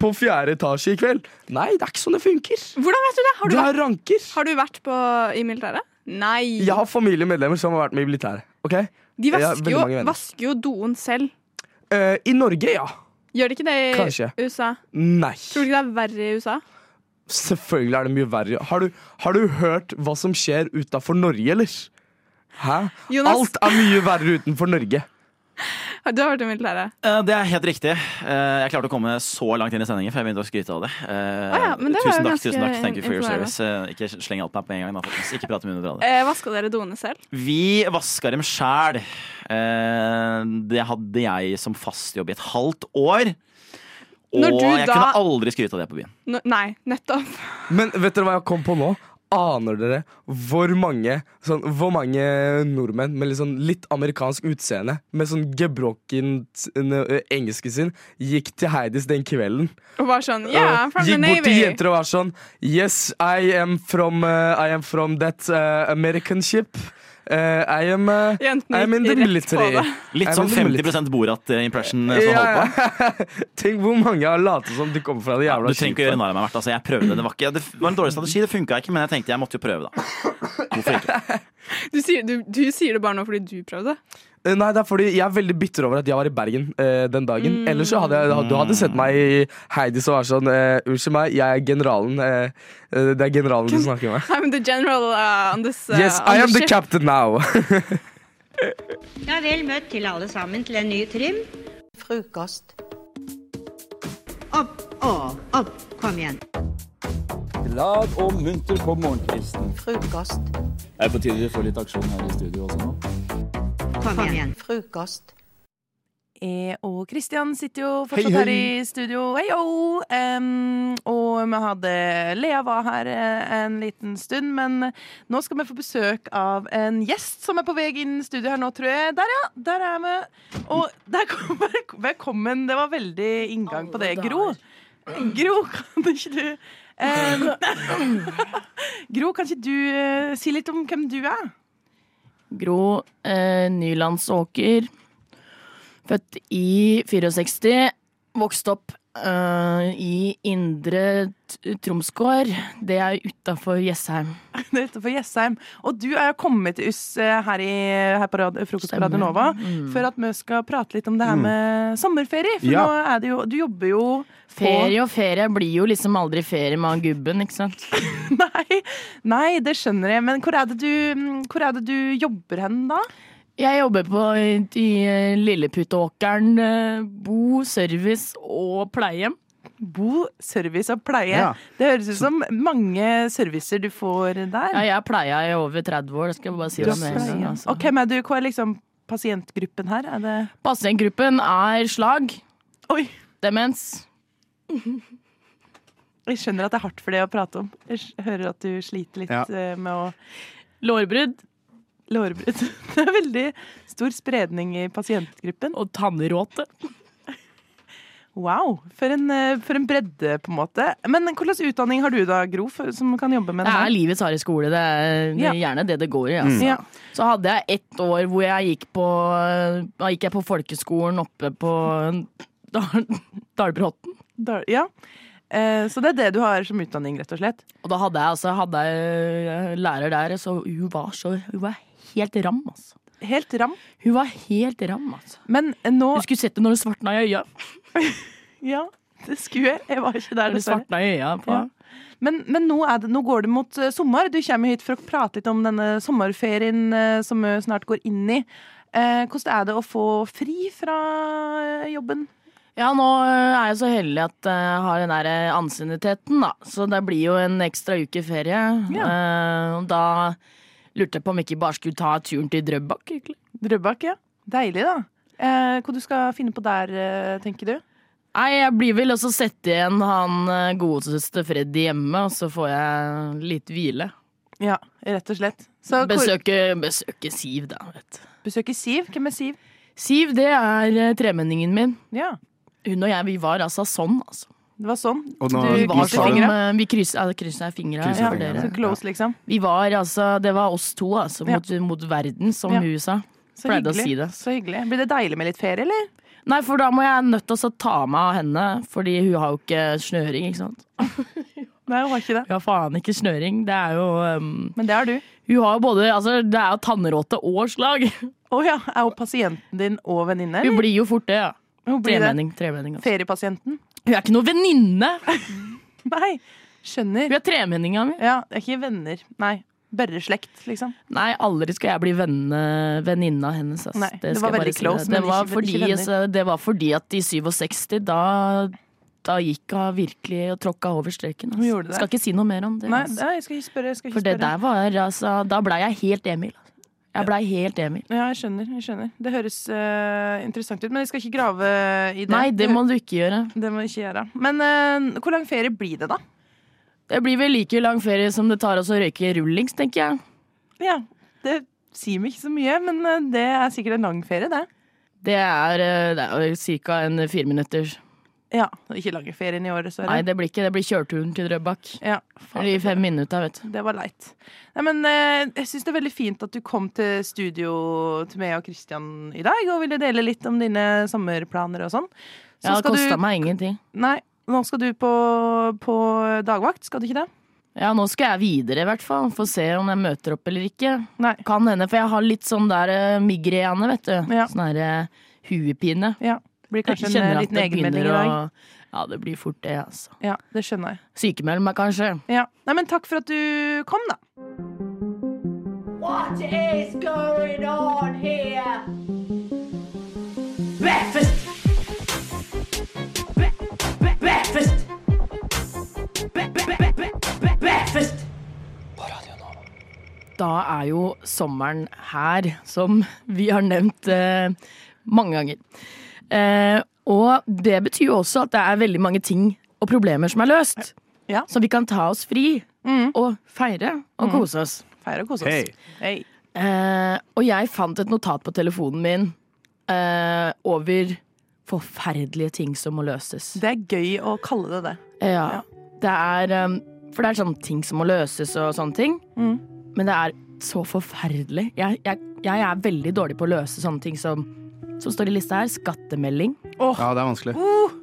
på fjerde etasje i kveld. Nei, det er ikke sånn det funker.
Hvordan vet du det? Har du,
Det er
vært,
ranker.
har du vært på, i militæret? Nei.
Jeg har familiemedlemmer som har vært med i militæret. ok?
De
Jeg har
vasker
veldig
jo,
mange venner.
vasker jo doen selv.
Eh, I Norge, ja.
Gjør de ikke det i
Kanskje.
USA?
Nei.
Tror du ikke det er verre i USA?
Selvfølgelig er det mye verre. Har du, har du hørt hva som skjer utafor Norge, eller? Hæ?
Jonas-
Alt er mye verre utenfor Norge.
Du har vært i militæret.
Eh, Det er helt riktig. Eh, Jeg klarte å komme så langt inn i sendingen før jeg begynte å skryte av det. Eh,
Å ja, men det var jo
tusen takk,
ganske
tusen takk. Thank you for your
imponerende.
service. Eh, Ikke sleng alt på meg på en gang. Da, folkens. ikke prate med hverandre.
Eh, vaska dere doene selv?
Vi vaska dem sjæl. Eh, Det hadde jeg som fast jobb i et halvt år. Og
Når du
jeg
da-
kunne aldri skryte av det på byen.
Nå- nei, nettopp. <laughs>
Men vet dere hva jeg kom på nå? Aner dere hvor mange, sånn, hvor mange nordmenn med litt, sånn, litt amerikansk utseende, med sånn gebrokkent eh, engelsken sin, gikk til Heidis den kvelden?
Og bare sånn Yeah, I'm
Og
from the
Eh, gikk bort til
Navy.
jenter og var sånn Yes, I am from, uh, I am from that uh, American ship. Uh, I am, uh, I am in the military.
Litt sånn
I'm in the military.
50 Borat-impression.
Ja, <laughs> Tenk hvor mange har latet som de kommer fra det
Du
jævla
trenger ikke å gjøre narr av meg, Martha. Altså, jeg prøvde. Det var, ikke, det var en dårlig strategi, det funka ikke, men jeg tenkte jeg måtte jo prøve, da. Hvorfor ikke?
Du sier, du, du sier det bare nå fordi du prøvde.
Eh, Nei, det er fordi jeg er veldig bitter over at jeg var i Bergen eh, den dagen.
Mm.
Ellers så hadde jeg, du hadde sett meg i Heidis og vært sånn eh, Unnskyld meg, jeg er generalen. eh, eh, det er generalen du snakker med.
I'm the general uh, on this uh,
Yes,
on
I am
this
the
ship.
captain now. <laughs>
Ja, vel møtt til alle sammen til en ny trim. Frokost. Opp og opp. Kom igjen.
Glad og munter på morgenkvisten.
Frokost.
Det er på tide vi får litt aksjon her i studio også nå.
Kom igjen. Frokost.
Jeg E og Kristian sitter jo fortsatt
Hei, hei.
her i studio. Hei, ho! Em, og vi hadde Lea var her eh, en liten stund, men nå skal vi få besøk av en gjest som er på vei inn i studio her nå, tror jeg. Der, ja! Der er vi. Og der kommer <laughs> Velkommen. Det var veldig inngang på det. Gro. Gro, kan ikke du em, <laughs> Gro, kan ikke du eh, si litt om hvem du er?
Gro eh, Nylandsåker. Født i 64. Vokst opp eh, i Indre T- Tromsgård. Det er utafor Jessheim.
<laughs> Det er utenfor Jessheim. Og du er jo kommet til oss eh, her, i, her på radio, frokost på Radio
Stemmer.
Nova for at vi skal prate litt om det her
Mm.
med sommerferie. For
Ja.
nå er det jo Du jobber jo på
Ferie og ferie blir jo liksom aldri ferie med han gubben, ikke sant?
<laughs> Nei, det skjønner jeg. Men hvor er det du, mm, hvor er det du jobber hen, da?
Jeg jobber på i eh, Lilleputtåkeren eh, bo, service og pleiehjem.
Bo, service og pleie.
Ja.
Det høres ut som mange servicer du får der.
Ja, jeg er pleia i over 30 år, det skal jeg bare si.
Du
deg med en gang,
pleier.
altså.
Og hvem er du? Hva er liksom pasientgruppen her? Er det
Pasientgruppen er slag. Demens.
Jeg skjønner at det er hardt for deg å prate om. Jeg sk- hører at du sliter litt
Ja.
eh, med å
Lårbrudd.
Lårbrudd. <laughs> Det er veldig stor spredning i pasientgruppen.
Og tannråte.
Wow, for en, eh, for en bredde, på en måte. Men hvordan utdanning har du da, Gro, for- som kan jobbe med
Det
det
er
her?
livets harde skole. Det er det
Ja.
er gjerne det det går i. Altså.
Mm. Ja.
Så hadde jeg ett år hvor jeg gikk på Da gikk jeg på folkeskolen oppe på <laughs> Dal- Dalbråten.
Da- Ja. Eh, Så det er det du har som utdanning, rett og slett?
Og da hadde jeg altså hadde jeg eh, lærer der, så hun var så Hun var helt ram, altså.
Helt ram?
Hun var helt ram, altså.
Men eh, nå
Du skulle sett det når det svartna i øya.
<laughs> Ja, det skulle jeg. Jeg var ikke der,
Når det
dessverre.
svartna i øya på
Ja. Men, men nå, er det, nå går det mot eh, sommer. Du kommer hit for å prate litt om denne sommerferien eh, som vi snart går inn i. Eh, hvordan er det å få fri fra eh, jobben?
Ja, nå eh, er jeg så heldig at jeg har den der eh, ansienniteten, da. Så det blir jo en ekstra uke ferie. Eh, og da lurte jeg på om jeg ikke bare skulle ta turen til Drøbak, egentlig.
Drøbak, ja. Deilig, da. Eh, hva du skal finne på der, eh, tenker du?
Nei, jeg blir vel også sette igjen han eh, godeste Freddy hjemme, og så får jeg litt hvile.
Ja, rett og slett.
besøke, besøke Siv, da, vet du.
Besøke Siv? Hvem er Siv?
Siv, det er eh, tremenningen min.
Ja.
Hun og jeg, vi var altså sånn, altså.
Det var sånn?
Og
nå-
vi
nå
var
sa
som,
du-
eh, vi kryssa ja, fingra.
Krysset fingrene, Så close, liksom.
Vi var altså, det var oss to, altså,
Ja.
mot, mot verden, som
Ja.
hun sa.
Så
Pleide å
hyggelig.
si det.
Så hyggelig. Blir det deilig med litt ferie, eller?
Nei, for da må jeg nødt til å ta meg av henne, fordi hun har jo ikke snøring, ikke sant.
Nei, hun har ikke det.
Hun har faen ikke snøring, det er jo ehm,
Men det har du.
Hun har jo både, altså det er jo tannråte og slag.
Å ja, er hun pasienten din og venninne?
Hun
eller?
blir jo fort det, ja.
Hun blir det.
tremenning, tremenning. Altså.
Feriepasienten?
Hun er ikke noe venninne!
<laughs> Nei, skjønner.
Hun er tremenninga mi.
Ja, det er ikke venner. Nei. Bare slekt, liksom.
Nei, aldri skal jeg bli venne- venninna hennes. ass.
Nei, det
skal
var
jeg bare
veldig close,
det. Det,
men
var
ikke-
fordi,
ikke venner.
altså, det var fordi at i 67, da, da gikk hun virkelig og tråkka over streken. ass.
Hun gjorde det.
Skal ikke si noe mer om det.
Nei,
ass.
nei, jeg skal ikke spørre. Jeg skal ikke
For det
spørre.
der var altså Da blei jeg helt Emil. altså. Jeg blei helt Emil.
Ja, jeg skjønner. jeg skjønner Det høres eh, interessant ut, men jeg skal ikke grave i det.
Nei, det må du ikke gjøre.
Det må jeg ikke gjøre. Men eh, hvor lang ferie blir det, da?
Det blir vel like lang ferie som det tar oss å røyke rullings, tenker jeg.
Ja, Det sier meg ikke så mye, men eh, det er sikkert en lang ferie, det.
Det er, eh, det er ca. en fireminutters.
Ja, Ikke lange ferien i år, dessverre.
Nei, det blir ikke. Det blir kjørturen til Drøbak.
Ja,
I fem minutter, vet du.
Det var leit. Nei, men eh, jeg syns det er veldig fint at du kom til studio til meg og Kristian i dag og ville dele litt om dine sommerplaner og sånn.
Ja, det
skal du-
kosta meg ingenting.
Nei, nå skal du på, på dagvakt, skal du ikke det?
Ja, nå skal jeg videre i hvert fall. Få se om jeg møter opp eller ikke.
Nei.
Kan hende, for jeg har litt sånn der eh, migrene, vet du. Sånn der eh, huepine.
Ja. Blir kanskje en,
Jeg kjenner
eh,
at
liten
det
egenmelding i
begynner å- Ja, det blir fort det, altså.
Ja, det skjønner jeg.
Sykemeld meg kanskje.
Ja. Nei, men takk for at du kom, da.
What is going on here? Breakfast. Bre- bre- breakfast. Bre- bre- bre- bre- breakfast.
Da er jo sommeren her, som vi har nevnt eh, mange ganger. Eh, og det betyr jo også at det er veldig mange ting og problemer som er løst. Så vi kan ta oss fri og feire og
Mm.
kose oss.
Feir og kos oss.
Hei.
Hei.
Eh, og jeg fant et notat på telefonen min eh, over forferdelige ting som må løses.
Det er gøy å kalle det det.
Ja. Det er um, For det er sånne ting som må løses og sånne ting. Men det er så forferdelig. Jeg, jeg, jeg er veldig dårlig på å løse sånne ting som som står i lista her. Skattemelding.
Ja, det er vanskelig.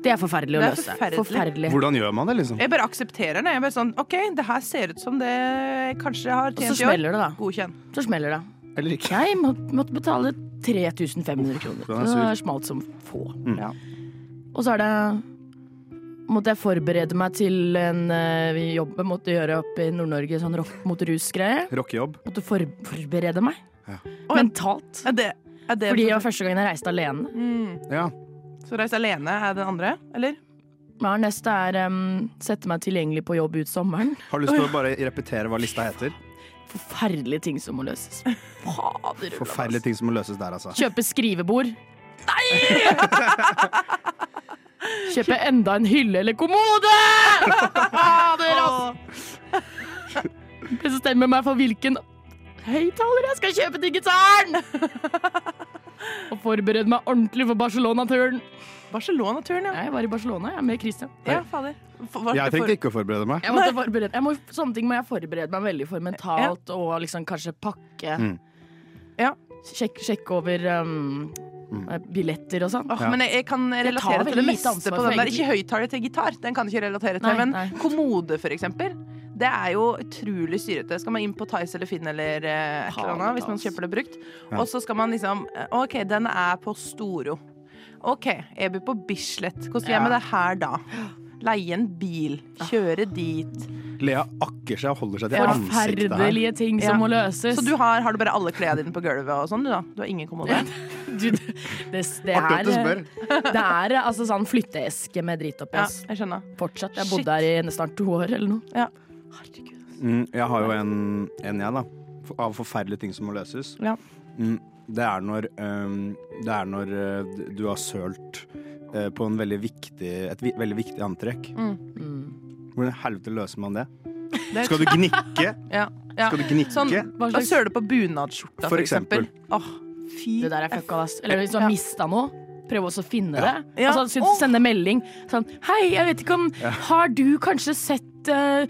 Det er Uh, forferdelig å
Uh. Det er
løse.
forferdelig.
Hvordan gjør man det, liksom?
Jeg bare aksepterer det. Jeg bare sånn, OK, det her ser ut som det jeg kanskje har
Og så
tjent i år.
smeller det, da.
Godkjenn.
Så smeller det.
Eller ikke.
Jeg må, måtte betale 3500 kroner.
den er
Det
sur.
er smalt som få. Og så er det Måtte jeg forberede meg til en eh, jobb jeg måtte gjøre oppe i Nord-Norge, sånn rock mot rus-greie.
Rockejobb.
Måtte for forberede meg.
Ja.
Mentalt.
det
Fordi det
for-
var første gangen jeg reiste alene.
Mm.
Ja.
Så reis alene er den andre, eller?
Ja, neste er em, sette meg tilgjengelig på jobb ut sommeren.
Har du lyst til å bare repetere hva lista heter?
Forferdelige ting som må løses. Fader.
Forferdelige ting som må løses der, altså.
Kjøpe skrivebord. Nei! Kjøpe enda en hylle eller kommode! Fader, altså! Bestemmer meg for hvilken høyttaler jeg skal kjøpe til gitaren! Og forberedte meg ordentlig for Barcelona-turen. Barcelona-turen, ja. Jeg var i Barcelona jeg, med Christian.
Ja, fader.
Jeg trengte ikke å forberede meg.
Jeg måtte forberede, jeg må, sånne ting må jeg forberede meg veldig for mentalt, og liksom kanskje pakke.
Mm.
Ja. Sjekk- Sjekke over um,
Mm.
billetter og sånn.
Åh, Men jeg, jeg kan relatere til det meste på den der. Ikke høyttaler til gitar, den kan jeg ikke relatere til.
Nei,
men
nei.
kommode, for eksempel. Det er jo utrolig styrete. Skal man inn på Tice eller Finn eller eh, et eller annet hvis man kjøper det brukt.
Ja.
Og så skal man liksom eh, OK, den er på Storo. OK, jeg bor på Bislett. Hvordan gjør jeg med
Ja.
det her da? Leie en bil. Kjøre dit.
Lea akker seg og holder seg til ansiktet her.
Forferdelige
ting som må løses.
Så du har, har du bare alle klærne dine på gulvet og sånn, du da? Du har ingen kommode?
<laughs> du, det, det
Artig at
er,
du
<laughs> det er altså sånn flytteeske med dritt oppi.
Ja,
ass. Fortsatt. Jeg bodde her i nesten to år eller noe.
Mm, jeg har jo en, en jeg, da. f- Av forferdelige ting som må løses.
Ja.
Mm, det er når, øhm, det er når øh, d- du har sølt øh, på en veldig viktig, et vi, veldig viktig antrekk.
Mm.
Hvordan i helvete løser man det?
Det- <laughs>
Skal du
<laughs>
gnikke?
Ja. ja.
Skal du gnikke?
Sånn, da søler du på bunadsskjorta,
For
for eksempel. Åh, fy
Det der er fucka, ass. Eller hvis du har mista noe, prøv også å finne
Ja.
det.
Ja.
Altså, send- Sende melding sånn Hei, jeg vet ikke om
Ja.
Har du kanskje sett eh,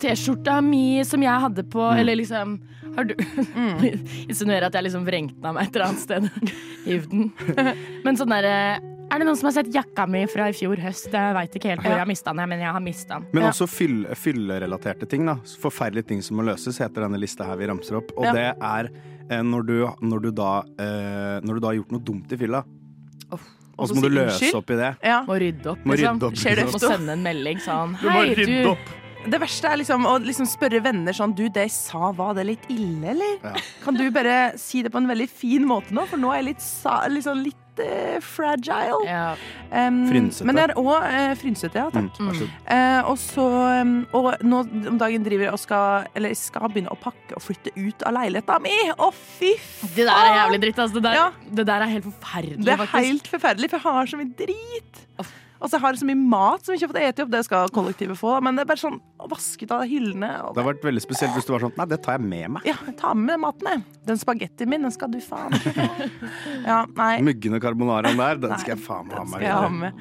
T-skjorta mi som jeg hadde på
Mm.
Eller liksom Har du
Mm.
<laughs> Insinuerer at jeg liksom vrengte den av meg et eller annet sted. Hiv
<laughs>
den. Men sånn derre Er det noen som har sett jakka mi fra i fjor høst? Jeg veit ikke helt hvor
Ja.
jeg har mista den, men jeg har mista den.
Men
Ja.
også fyll, fyllerelaterte ting. da Forferdelige ting som må løses, heter denne lista her vi ramser opp. Og
Ja.
det er eh, når, du, når, du da, eh, når du da har gjort noe dumt i fylla, og
så
så må du
si
løse
unnskyld.
opp i det.
Må rydde opp,
Må
liksom.
rydde opp,
Skjer det
liksom.
Må sende en melding sånn
Du må
Hei,
rydde
du.
opp. Det verste er liksom å liksom spørre venner sånn Du, det jeg sa, var det litt ille, eller?
Ja.
Kan du bare si det på en veldig fin måte nå, for nå er jeg litt, sa, liksom litt eh, fragile. Um,
Frynsete.
Men det er òg eh, frynsete, ja. Takk.
Mm, vær så god.
Eh, og så um, Og nå om dagen driver jeg og skal Eller jeg skal begynne å pakke og flytte ut av leiligheta mi! Å, fy faen!
Det der er jævlig dritt, ass. Det der,
Ja.
det der er helt forferdelig,
Det er
faktisk.
helt forferdelig, for jeg har så mye drit. Og så har jeg så mye mat som jeg ikke har fått ete opp. Det skal kollektivet få, da. men det er bare sånn å vaske ut av hyllene. Og
Det har vært veldig spesielt hvis du var sånn Nei, det tar jeg med meg.
ja, ta med maten, jeg. Den spagettien min, den skal du faen ikke få.
<laughs>
Ja, nei.
Muggene carbonaraen der, den
Nei,
skal jeg faen meg ha
Den skal
med.
jeg ha med.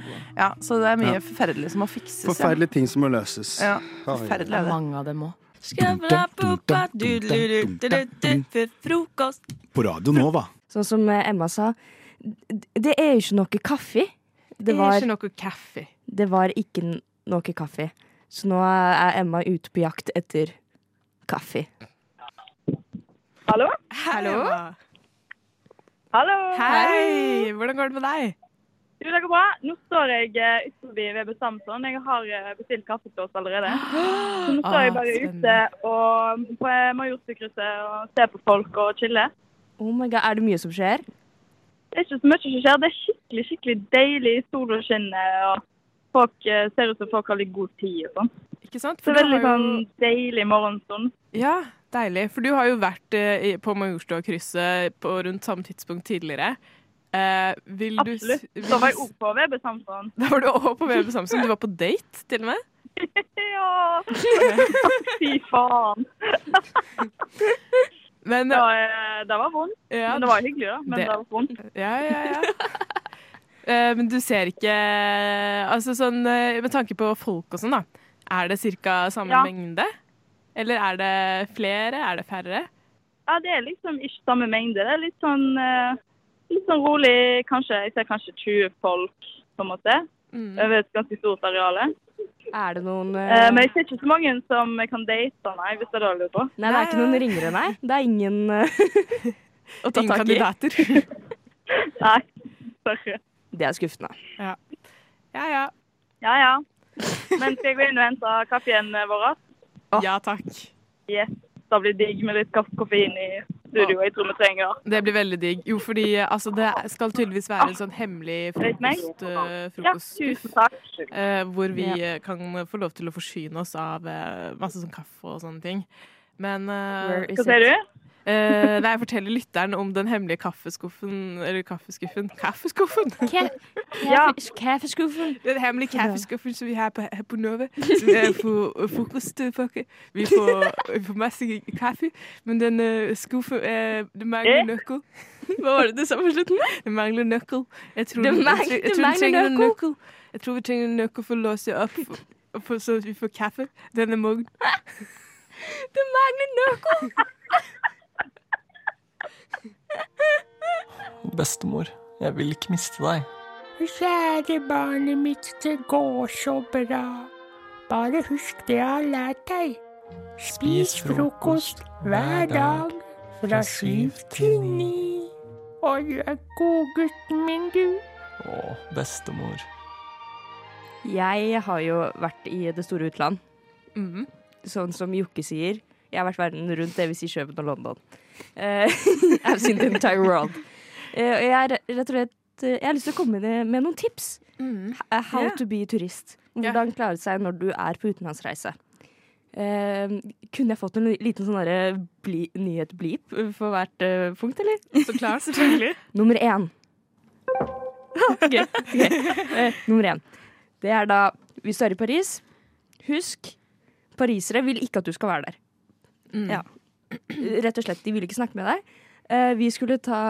Ja, så det er mye
Ja.
forferdelig som må fikses. ja.
Forferdelige ting som må løses.
Ja,
Oi.
forferdelig er det.
Mange av dem òg.
Frokost.
På Radio Nova.
Sånn som eh, Emma sa, d- det er jo ikke noe kaffe.
Det
Det
er
var,
ikke noe kaffe.
det var ikke n- noe kaffe. Så nå er Emma ute på jakt etter kaffe.
Hallo? Hallo?
Hallo!
Hei! Hvordan går det med deg?
Du, det går bra. Nå står jeg eh, utenfor VB Samson. Jeg har eh, bestilt kaffe til oss allerede. Så nå står
Ah,
jeg bare ute og på eh, Majorstukrysset og ser på folk og chiller.
Oh my god, Er det mye som skjer?
Det er ikke så mye som skjer. Det er skikkelig skikkelig deilig. Sola skinner, og folk eh, ser ut som folk har litt god tid og sånn.
Ikke sant?
Så
du
veldig
har
sånn deilig morgenstund.
Ja, deilig. For du har jo vært eh, i- på Majorstua-krysset på rundt samme tidspunkt tidligere. Eh, vil du s-
Absolutt.
vil
Så var
du
jeg
s-
også på VB Samson.
Da var du også på VB Samson. Du var på date, til og med.
<laughs> Ja! <laughs> Fy faen. det, var, eh, det var vondt.
Ja.
men det var hyggelig, da. Men det,
Det-
var vondt.
Ja, ja, ja. Eh, Men du ser ikke Altså sånn eh, med tanke på folk og sånn, da. Er det ca. samme
Ja.
mengde? Eller er det flere? Er det færre?
Ja, det er liksom ikke samme mengde. Det er litt sånn, eh, litt sånn rolig, kanskje. Jeg ser kanskje 20 folk, på en måte.
Mm.
Over et ganske stort areal.
Er det noen
Eh,
eh,
Men jeg ser ikke så mange som jeg kan date, nei, hvis det er det du lurer på.
Nei, det er ikke noen ringere, nei. Det er ingen <laughs> eh,
å
ta tak i.
<laughs> nei. Sorry.
Det er skuffende.
Ja. Ja, ja.
Ja, ja. Men skal jeg gå inn og hente kaffen vår?
Ja takk.
Yes. Da blir det digg med litt kaffe koffein i studio. Jeg tror vi trenger det.
Det blir veldig digg. Jo, fordi eh, altså, det skal tydeligvis være en sånn hemmelig
Vet meg?
frokost, eh, frokostskuff. eh, hvor vi eh, kan få lov til å forsyne oss av eh, masse sånn kaffe og sånne ting. Men eh,
Where is Hva sier it?
Eh, nei, jeg forteller lytteren om den hemmelige kaffeskuffen Eller kaffeskuffen Kaffeskuffen!
Ja.
Kaffeskuffen. Den hemmelige kaffeskuffen som vi har på, her på Nova. Som er for frokostpakke. Vi får, vi får masse kaffe, men den eh, skuffen er det mangler
Eh?
noe. Hva var det du sa på slutten? Det mangler nøkkel. Jeg tror,
Det
jeg
mang-
tror- jeg
det
tror vi
mangler
trenger en
nøkkel.
nøkkel. Jeg tror vi trenger en nøkkel for å låse opp, for, for, så vi får kaffe denne morgenen.
Det mangler nøkkel!
Bestemor, jeg vil ikke miste deg.
Kjære barnet mitt, det går så bra. Bare husk det jeg har lært deg. Spis frokost hver dag fra syv til ni. Og du er godgutten min, du.
Å, bestemor.
Jeg har jo vært i det store utland.
Mm.
Sånn som Jokke sier. Jeg har vært verden rundt, det vil si Kjøben og London. Eh, <laughs> I've seen the entire world. Eh, og jeg, er re- rett og slett, eh, jeg har lyst til å komme med, med noen tips. H- eh, How
Ja.
to be turist. Hvordan klare seg når du er på utenlandsreise. Eh, kunne jeg fått en li- liten sånn derre bli, nyhet-bleep for hvert eh, punkt, eller? Så klart, <laughs> selvfølgelig. Nummer én. <laughs> Ok, ok. Eh, nummer én. Det er da, hvis du er i Paris, husk Parisere vil ikke at du skal være der. Ja. Rett og slett, de vil ikke snakke med deg. Eh, vi skulle ta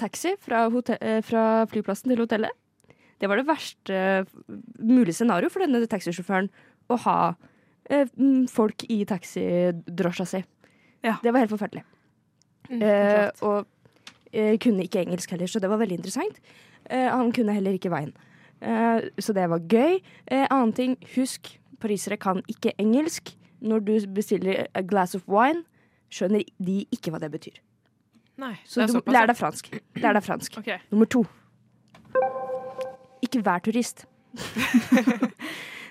taxi fra, hote- eh, fra flyplassen til hotellet. Det var det verste eh, mulige scenario for denne taxisjåføren å ha eh, mm, folk i taxidrosja si. Det var helt forferdelig. Eh, og eh, kunne ikke engelsk heller, så det var veldig interessant. Eh, han kunne heller ikke veien. Eh, så det var gøy. Eh, annen ting, husk parisere kan ikke engelsk. Når du bestiller a glass of wine, skjønner de ikke hva det betyr.
Nei,
Så du, lær deg fransk. Lær deg fransk.
Ok.
Nummer to. Ikke vær turist.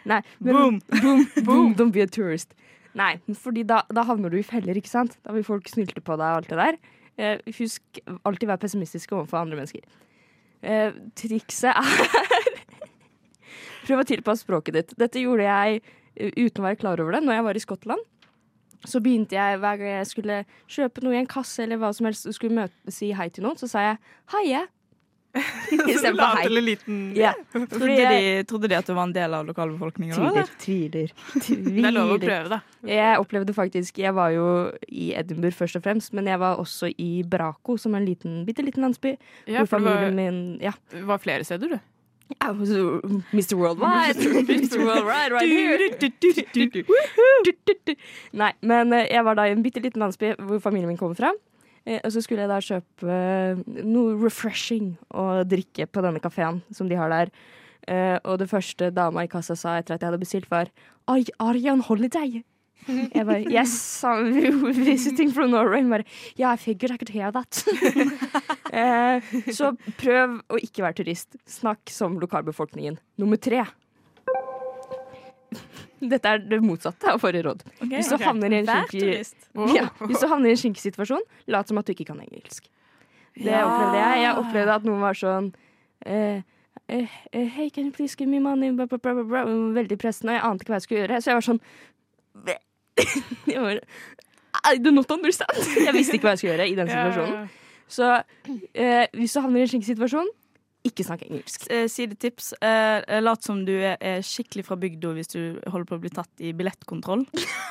Nei, men,
Boom.
boom, boom, don't be a tourist. Nei, fordi da, da havner du i feller, ikke sant? Da vil folk snylte på deg og alt det der. Eh, husk alltid være pessimistisk overfor andre mennesker. Eh, trikset er <laughs> Prøv å tilpasse språket ditt. Dette gjorde jeg eh, uten å være klar over det når jeg var i Skottland. Så begynte jeg hver gang jeg skulle kjøpe noe i en kasse eller hva som helst, og skulle møte, si hei til noen, så sa jeg heie. Istedenfor
Lav
hei.
eller liten.
Ja,
Trodde,
fordi jeg-
de, trodde de at du var en del av lokalbefolkningen? da,
Tviler,
eller?
tviler, tviler.
Det er lov å prøve, da.
Jeg opplevde faktisk Jeg var jo i Edinburgh først og fremst, men jeg var også i Braco, som er en liten, bitte liten landsby.
Ja,
hvor
for det var-
familien min Ja.
Det var flere steder, du.
Au, så- Mr. Worldwide.
<laughs>
Mr. Worldwide right here. Nei, men eh, jeg var da i en bitte liten landsby hvor familien min kommer fra. Eh, Og så skulle jeg da kjøpe eh, noe refreshing å drikke på denne kafeen som de har der. Eh, Og det første dama i kassa sa etter at jeg hadde bestilt, var Oi, are you on holiday? Jeg bare Yes, I'm visiting from Norway. Hun bare Yeah, I figured I could hear that. <laughs> Eh, så prøv å ikke være turist. Snakk som lokalbefolkningen. Nummer tre. Dette er det motsatte av forrige råd.
Ok,
hvis, du
ok.
havner i en
Vær
skinkig-
turist.
<laughs> ja, hvis du havner i en skinkig situasjon, lat som at du ikke kan engelsk. Det
Ja.
opplevde jeg. Jeg opplevde at noen var sånn eh, eh, eh, Hey, can you please give me money? Bla, bla, bla, bla, bla. Veldig pressende, og jeg ante ikke hva jeg skulle gjøre. Så jeg var sånn <laughs> jeg var, I do not understand. <laughs> Jeg visste ikke hva jeg skulle gjøre i den
Ja, ja, ja.
situasjonen. Så eh, hvis du havner i en slik situasjon, ikke snakk engelsk.
Eh, Sidetips. Eh, lat som du er, er skikkelig fra bygda hvis du holder på å bli tatt i
<laughs>
billettkontroll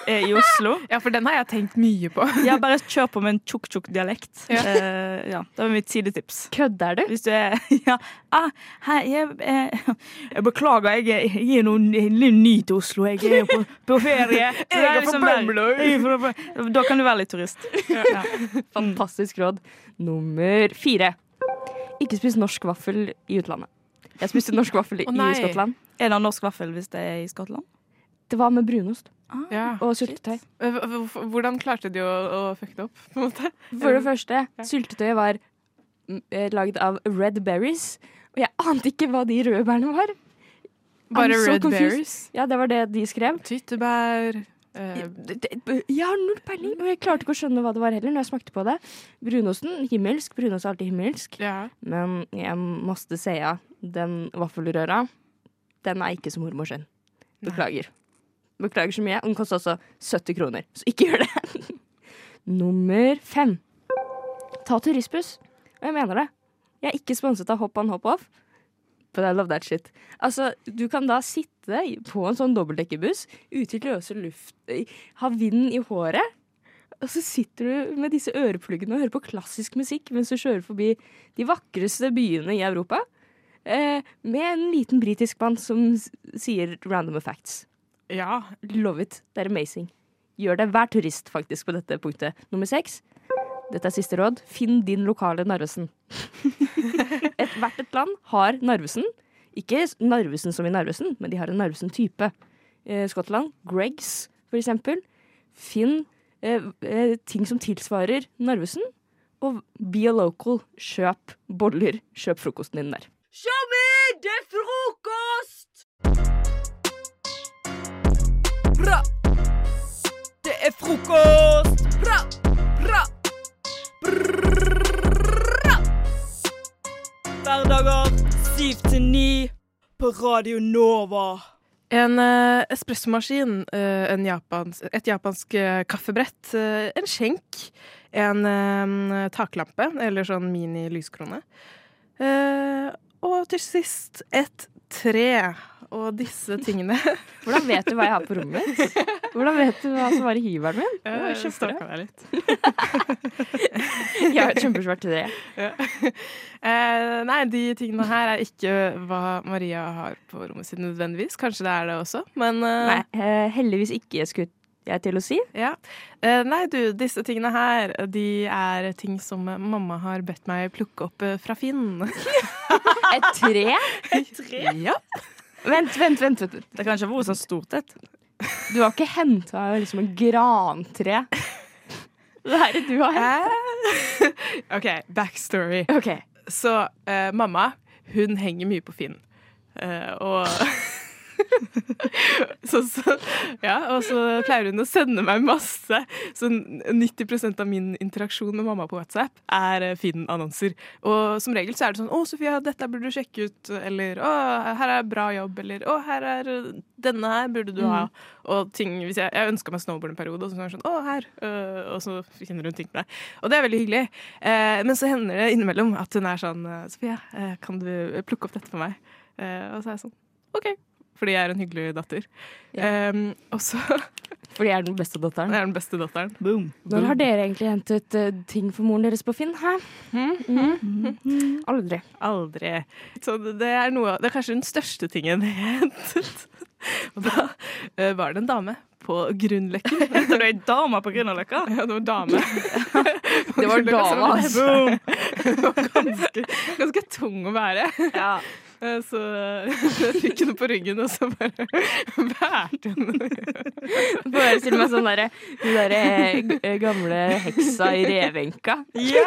eh, i Oslo.
Ja, for den har jeg tenkt mye på.
ja, bare kjør på med en tjukk-tjukk dialekt.
<laughs> Ja.
Eh, ja, det var mitt sidetips.
Kødder du?
Hvis du er <laughs> Ja. Ah, hei, jeg, eh, jeg beklager, jeg, er- jeg er noe litt ny til Oslo. Jeg er på, på
<laughs>
ferie. Så det
Jeg er
liksom
fra
bare-
Bømlo.
jeg er fra Bø- Da kan du være litt
<laughs>
turist. Ja.
Fantastisk råd. Nummer fire. Ikke spis norsk vaffel i utlandet. Jeg spiste norsk vaffel i,
Å, nei.
i Skottland.
Er det norsk vaffel hvis det er i Skottland?
Det var med brunost.
Ah.
Ja.
Og syltetøy.
Eh, hv- hv- Hvordan klarte de å, å fucke det opp, på en måte?
For det første, syltetøyet var mm, eh, lagd av red berries. Og jeg ante ikke hva de røde bærene var. I'm
Bare
so
red
confused.
berries?
Ja, det var det de skrev.
Tyttebær eh,
Jeg har null peiling, og jeg klarte ikke å skjønne hva det var heller. Når jeg smakte på det Brunosten, himmelsk. Brunost er alltid himmelsk. Men jeg måtte si ja. Den vaffelrøra, den er ikke som mormor sin. Beklager. Beklager så mye. Den koster også 70 kroner, så ikke gjør det. <laughs> Nummer fem. Ta turistbuss. Og jeg mener det. Jeg er ikke sponset av Hopp on Hopp Off. But I love that shit. Altså, du kan da sitte i- på en sånn dobbeltdekkerbuss ute i løse luft, i- ha vinden i håret, Og så sitter du med disse ørepluggene og hører på klassisk musikk mens du kjører forbi de vakreste byene i Europa. Eh, med en liten britisk mann som s- sier random facts.
Ja.
Love it. Det er amazing. Gjør det. Vær turist, faktisk, på dette punktet. Nummer seks. Dette er siste råd. Finn din lokale Narvesen. Ethvert et land har Narvesen. Ikke s- Narvesen som i Narvesen, men de har en Narvesen-type. Eh, Skottland, Gregs, for eksempel. Finn eh, eh, ting som tilsvarer Narvesen. Og be a local. Kjøp boller. Kjøp frokosten din der.
Showbiz, det er frokost! Bra! Det er frokost! Bra, bra! Bra! Hverdager 7 til 9 på Radio Nova.
En eh, espressomaskin, eh, en japans, et japansk eh, kaffebrett, eh, en skjenk, en eh, taklampe, eller sånn mini-lyskrone. Eh, og til sist et tre. Og disse tingene
Hvordan vet du hva jeg har på
<laughs>
rommet mitt? Hvordan vet du hva som var i hiveren min? Det var
Eh,
jo kjempebra.
stalka deg litt.
<laughs> Jeg
<laughs>
har et kjempesvært tre.
Ja. <laughs> Eh, nei, de tingene her er ikke hva Maria har på rommet sitt nødvendigvis. Kanskje det er det også, men eh,
Nei, eh, heldigvis ikke, skulle jeg til å si.
Ja. Eh, nei, du, disse tingene her, de er ting som eh, mamma har bedt meg plukke opp eh, fra Finn.
<laughs> Et tre?
Et tre? Ja.
Vent, vent, vent. vent.
Det kan ikke ha vært så stort et.
Du har ikke henta liksom en grantre? Hva er det du har
hentet? <laughs> OK, backstory. Så eh, mamma, hun henger mye på Finn. Eh, og så, så, ja, og så pleier hun å sende meg masse. Så 90 av min interaksjon med mamma på WhatsApp er eh, Finn-annonser. Og som regel så er det sånn 'Å, Sofia, dette burde du sjekke ut.' Eller 'Å, her er bra jobb.' Eller 'Å, her er denne her burde du ha'.
Mm.
Og ting, hvis jeg, jeg ønska meg snowboard en periode, og så var hun sånn 'Å, her.' øh, og så finner hun ting til deg. Og det er veldig hyggelig. Eh, men så hender det innimellom at hun er sånn eh, 'Sofia, eh, kan du plukke opp dette for meg?' Eh, og så er jeg sånn OK. Fordi jeg er en hyggelig datter. Em, og så
<laughs> Fordi jeg er den beste datteren.
Jeg er den beste datteren.
Når har dere egentlig hentet eh, ting for moren deres på Finn? Hæ?
Mm,
Mm. Aldri.
Aldri. Så det er, noe, det er kanskje den største tingen jeg <laughs> hentet. Og da eh, var det en dame på Grunnløkken. <laughs> Henter du ei dame på Grunnløkka? Ja, det var dame.
<laughs> Det var
Grunnløkka, så
dama,
det-
altså.
Boom! Det var ganske, ganske tung å bære. <laughs> Eh, Så jeg fikk henne på ryggen, og så bare <laughs> bærte hun
Forestill meg sånn derre den derre eh, gamle heksa i revenka.
<laughs>
Ja!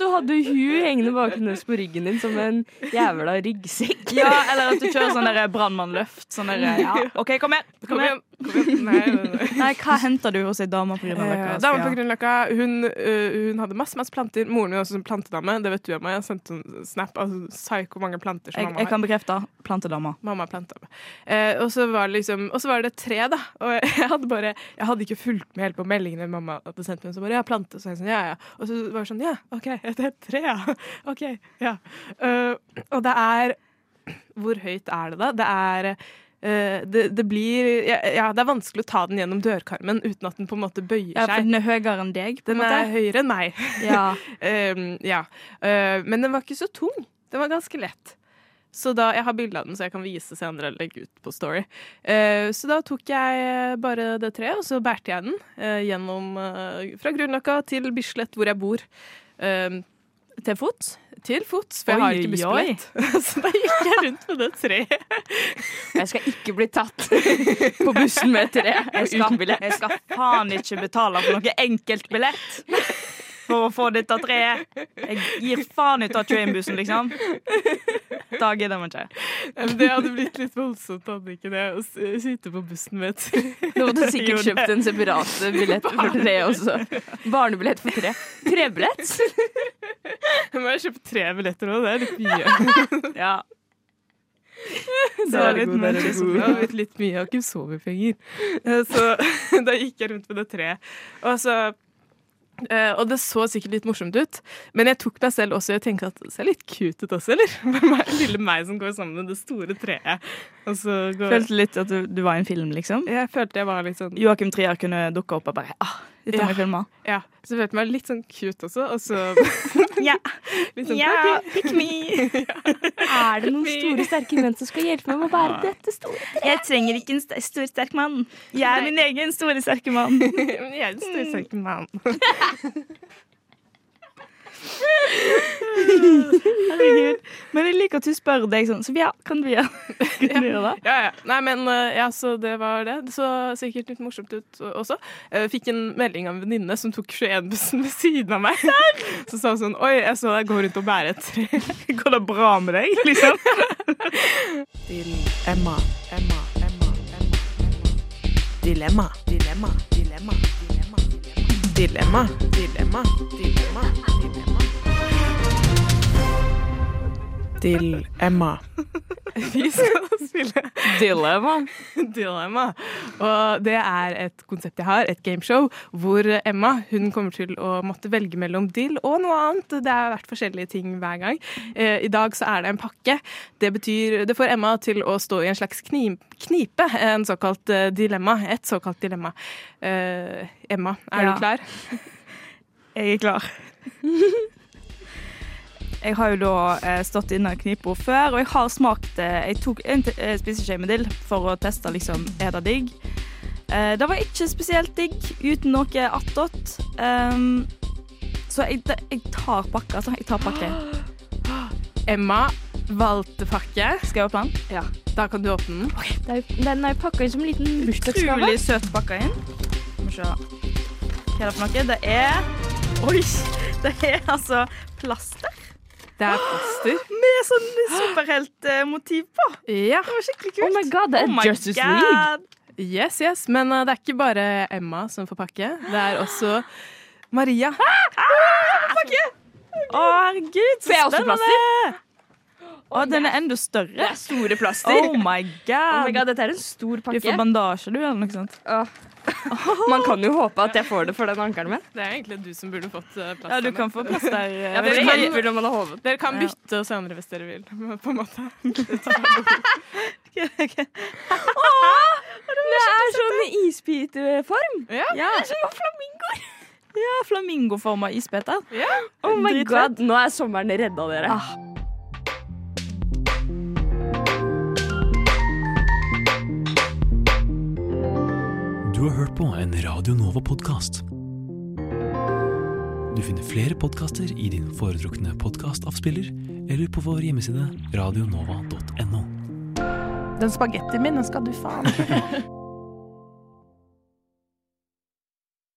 Du hadde hun hengende bakenlands på ryggen din som en jævla ryggsekk.
Ja, eller at du kjører sånn der brannmannløft. Sånn der, ja. OK, kom igjen! Kom igjen. Nei, hva henter du hos ei dame på Grünerløkka?
Eh, Dama på Grünerløkka. Hun, eh, hun hadde masse masse planter. Moren min er også en plantedame. Det vet du og meg. Jeg sendte en snap. Altså, Psyko mange planter som
Jeg,
mamma
jeg
har.
kan bekrefte. Plantedama.
Mamma er plantedame. Eh, og så var det liksom Og så var det tre, da. Og <laughs> jeg hadde bare Jeg hadde ikke fulgt med helt på meldingene mamma hadde sendt meg. Så bare Ja, plante. Så jeg sånn, ja, ja. Og så var det sånn Ja, OK, <laughs> det er tre, ja. OK, ja. Eh, og det er Hvor høyt er det, da? Det er eh, det, det blir ja, ja, det er vanskelig å ta den gjennom dørkarmen uten at den på en måte bøyer
Ja,
seg.
for den er høyere enn deg? på en
Den
måte.
er høyere enn meg.
Ja.
<laughs> Ehm, ja. Eh, men den var ikke så tung. Den var ganske lett. Så da, Jeg har bilde av den, så jeg kan vise senere eller legge ut på Story. Eh, så da tok jeg eh, bare det treet, og så bærte jeg den eh, gjennom eh, fra Grünerløkka til Bislett, hvor jeg bor. Ehm, til fots? Til fots, for jeg har
Oi,
ikke
oi.
bussbillett. <laughs> så da gikk jeg rundt med det treet.
Jeg skal ikke bli tatt <laughs> på bussen med et tre.
Jeg skal, jeg skal faen ikke betale for noe enkeltbillett for å få dette treet. Jeg gir faen ut av trainbussen, liksom. Da gidder man ikke.
Ja, men Det hadde blitt litt voldsomt, hadde ikke det? Å s- sitte på bussen med et
Nå måtte du sikkert kjøpt en separat billett for tre også. Barnebillett for tre. Trebillett?
Nå <laughs> må jeg kjøpe tre billetter òg, det er litt
<laughs>
mye.
ja.
Det
Da
var
er det
litt
god, da er det
mye,
god.
det har blitt litt mye, jeg har <laughs> ikke så mye penger. Eh, Så da gikk jeg rundt med det treet. Og så Eh, og det så sikkert litt morsomt ut, men jeg tok meg selv også i å tenke at det ser litt cute ut også, eller? <laughs> Med meg- Lille meg som går sammen med det store treet. Og så går...
Følte litt at du, du var i en film, liksom?
Jeg følte jeg var litt sånn
Joakim Trier kunne dukke opp og bare ah, dette må jeg filme.
Ja. Så følte jeg meg litt sånn cute også, og så
<laughs> Ja.
<laughs> Litt sånn,
Ja,
«Takk».
pick me!
<laughs>
Er det noen store, sterke menn som skal hjelpe meg med å bære dette store treet?
Jeg trenger ikke en st stor, sterk mann. Jeg er min egen store, sterke
<laughs>
mann.
Men jeg er den store, sterke mann.
Herregud. Men jeg liker at du spør deg sånn. Så ja, kan du gjøre, <laughs> kan du gjøre det?
Ja, ja. Nei, men eh, ja, så det var det. Det så sikkert litt morsomt ut eh, også. Jeg fikk en melding av en venninne som tok 21-bussen ved siden av meg. <laughs> Så sa hun sånn Oi, jeg så deg gå rundt og bære et tre. <laughs>
Går det bra med deg, liksom?
Til Emma. Emma. Emma.
Dilemma. Dilemma. Dilemma. Dilemma. Dilemma. Dilemma.
Til Emma. <laughs> Vi skal spille <laughs> Dilemma. Dilemma. Og det er et konsept jeg har, et gameshow, hvor Emma hun kommer til å måtte velge mellom dill og noe annet. Det har vært forskjellige ting hver gang. Eh, I dag så er det en pakke. Det betyr Det får Emma til å stå i en slags kni- knipe. En såkalt eh, dilemma. Et såkalt dilemma. Eh, Emma, er
Ja.
du klar?
Jeg er klar. Jeg har jo da eh, stått i denne knipa før, og jeg har smakt eh, Jeg tok en te- eh, spiseskje med dill for å teste liksom, er det digg. Eh, det var ikke spesielt digg uten noe attåt. Ehm, så jeg, da- jeg tar pakke, altså. Jeg tar pakke. <gasps>
<gasps>
Emma valgte pakke.
Skal jeg åpne den?
Ja. Da kan du åpne den.
Det er jo- Den er jo pakka inn som en liten bursdagsgave.
Utrolig søt pakka inn. Skal vi se. Hva er det for noe? Det er Oi! Det er altså plaster.
Det er plaster.
<gasps> Med sånn superheltmotiv på.
Ja.
Det var skikkelig kult.
Oh my god,
det er Oh my Justice God. League.
Yes, yes. Men eh, det er ikke bare Emma som får pakke. Det er også Maria.
Ah! Pakke! Å, herregud, så
Det er også
spennende! Å, den er enda større. Det er store plaster. Oh my god.
Oh my god, dette er en stor pakke.
Du får bandasje, du, eller noe sånt.
Man kan jo håpe at jeg får det for den ankelen min.
Det er egentlig du som burde fått eh, plaster.
Ja, du kan få plaster. eh,
Ja, dere,
veldig
kan,
hjelpfullt om man har hodet.
dere kan
Ja.
bytte senere hvis dere vil, <laughs> på en måte.
Det er sånn i isbiteform.
Ja.
Det er som flamingoer.
Ja, flamingoforma isbiter.
Oh my
Dritfett.
god, nå er sommeren redda dere.
Du har hørt på en Radio Nova-podkast. Du finner flere podkaster i din foretrukne podkastavspiller eller på vår hjemmeside radionova.no.
Den spagettien min, den skal du faen.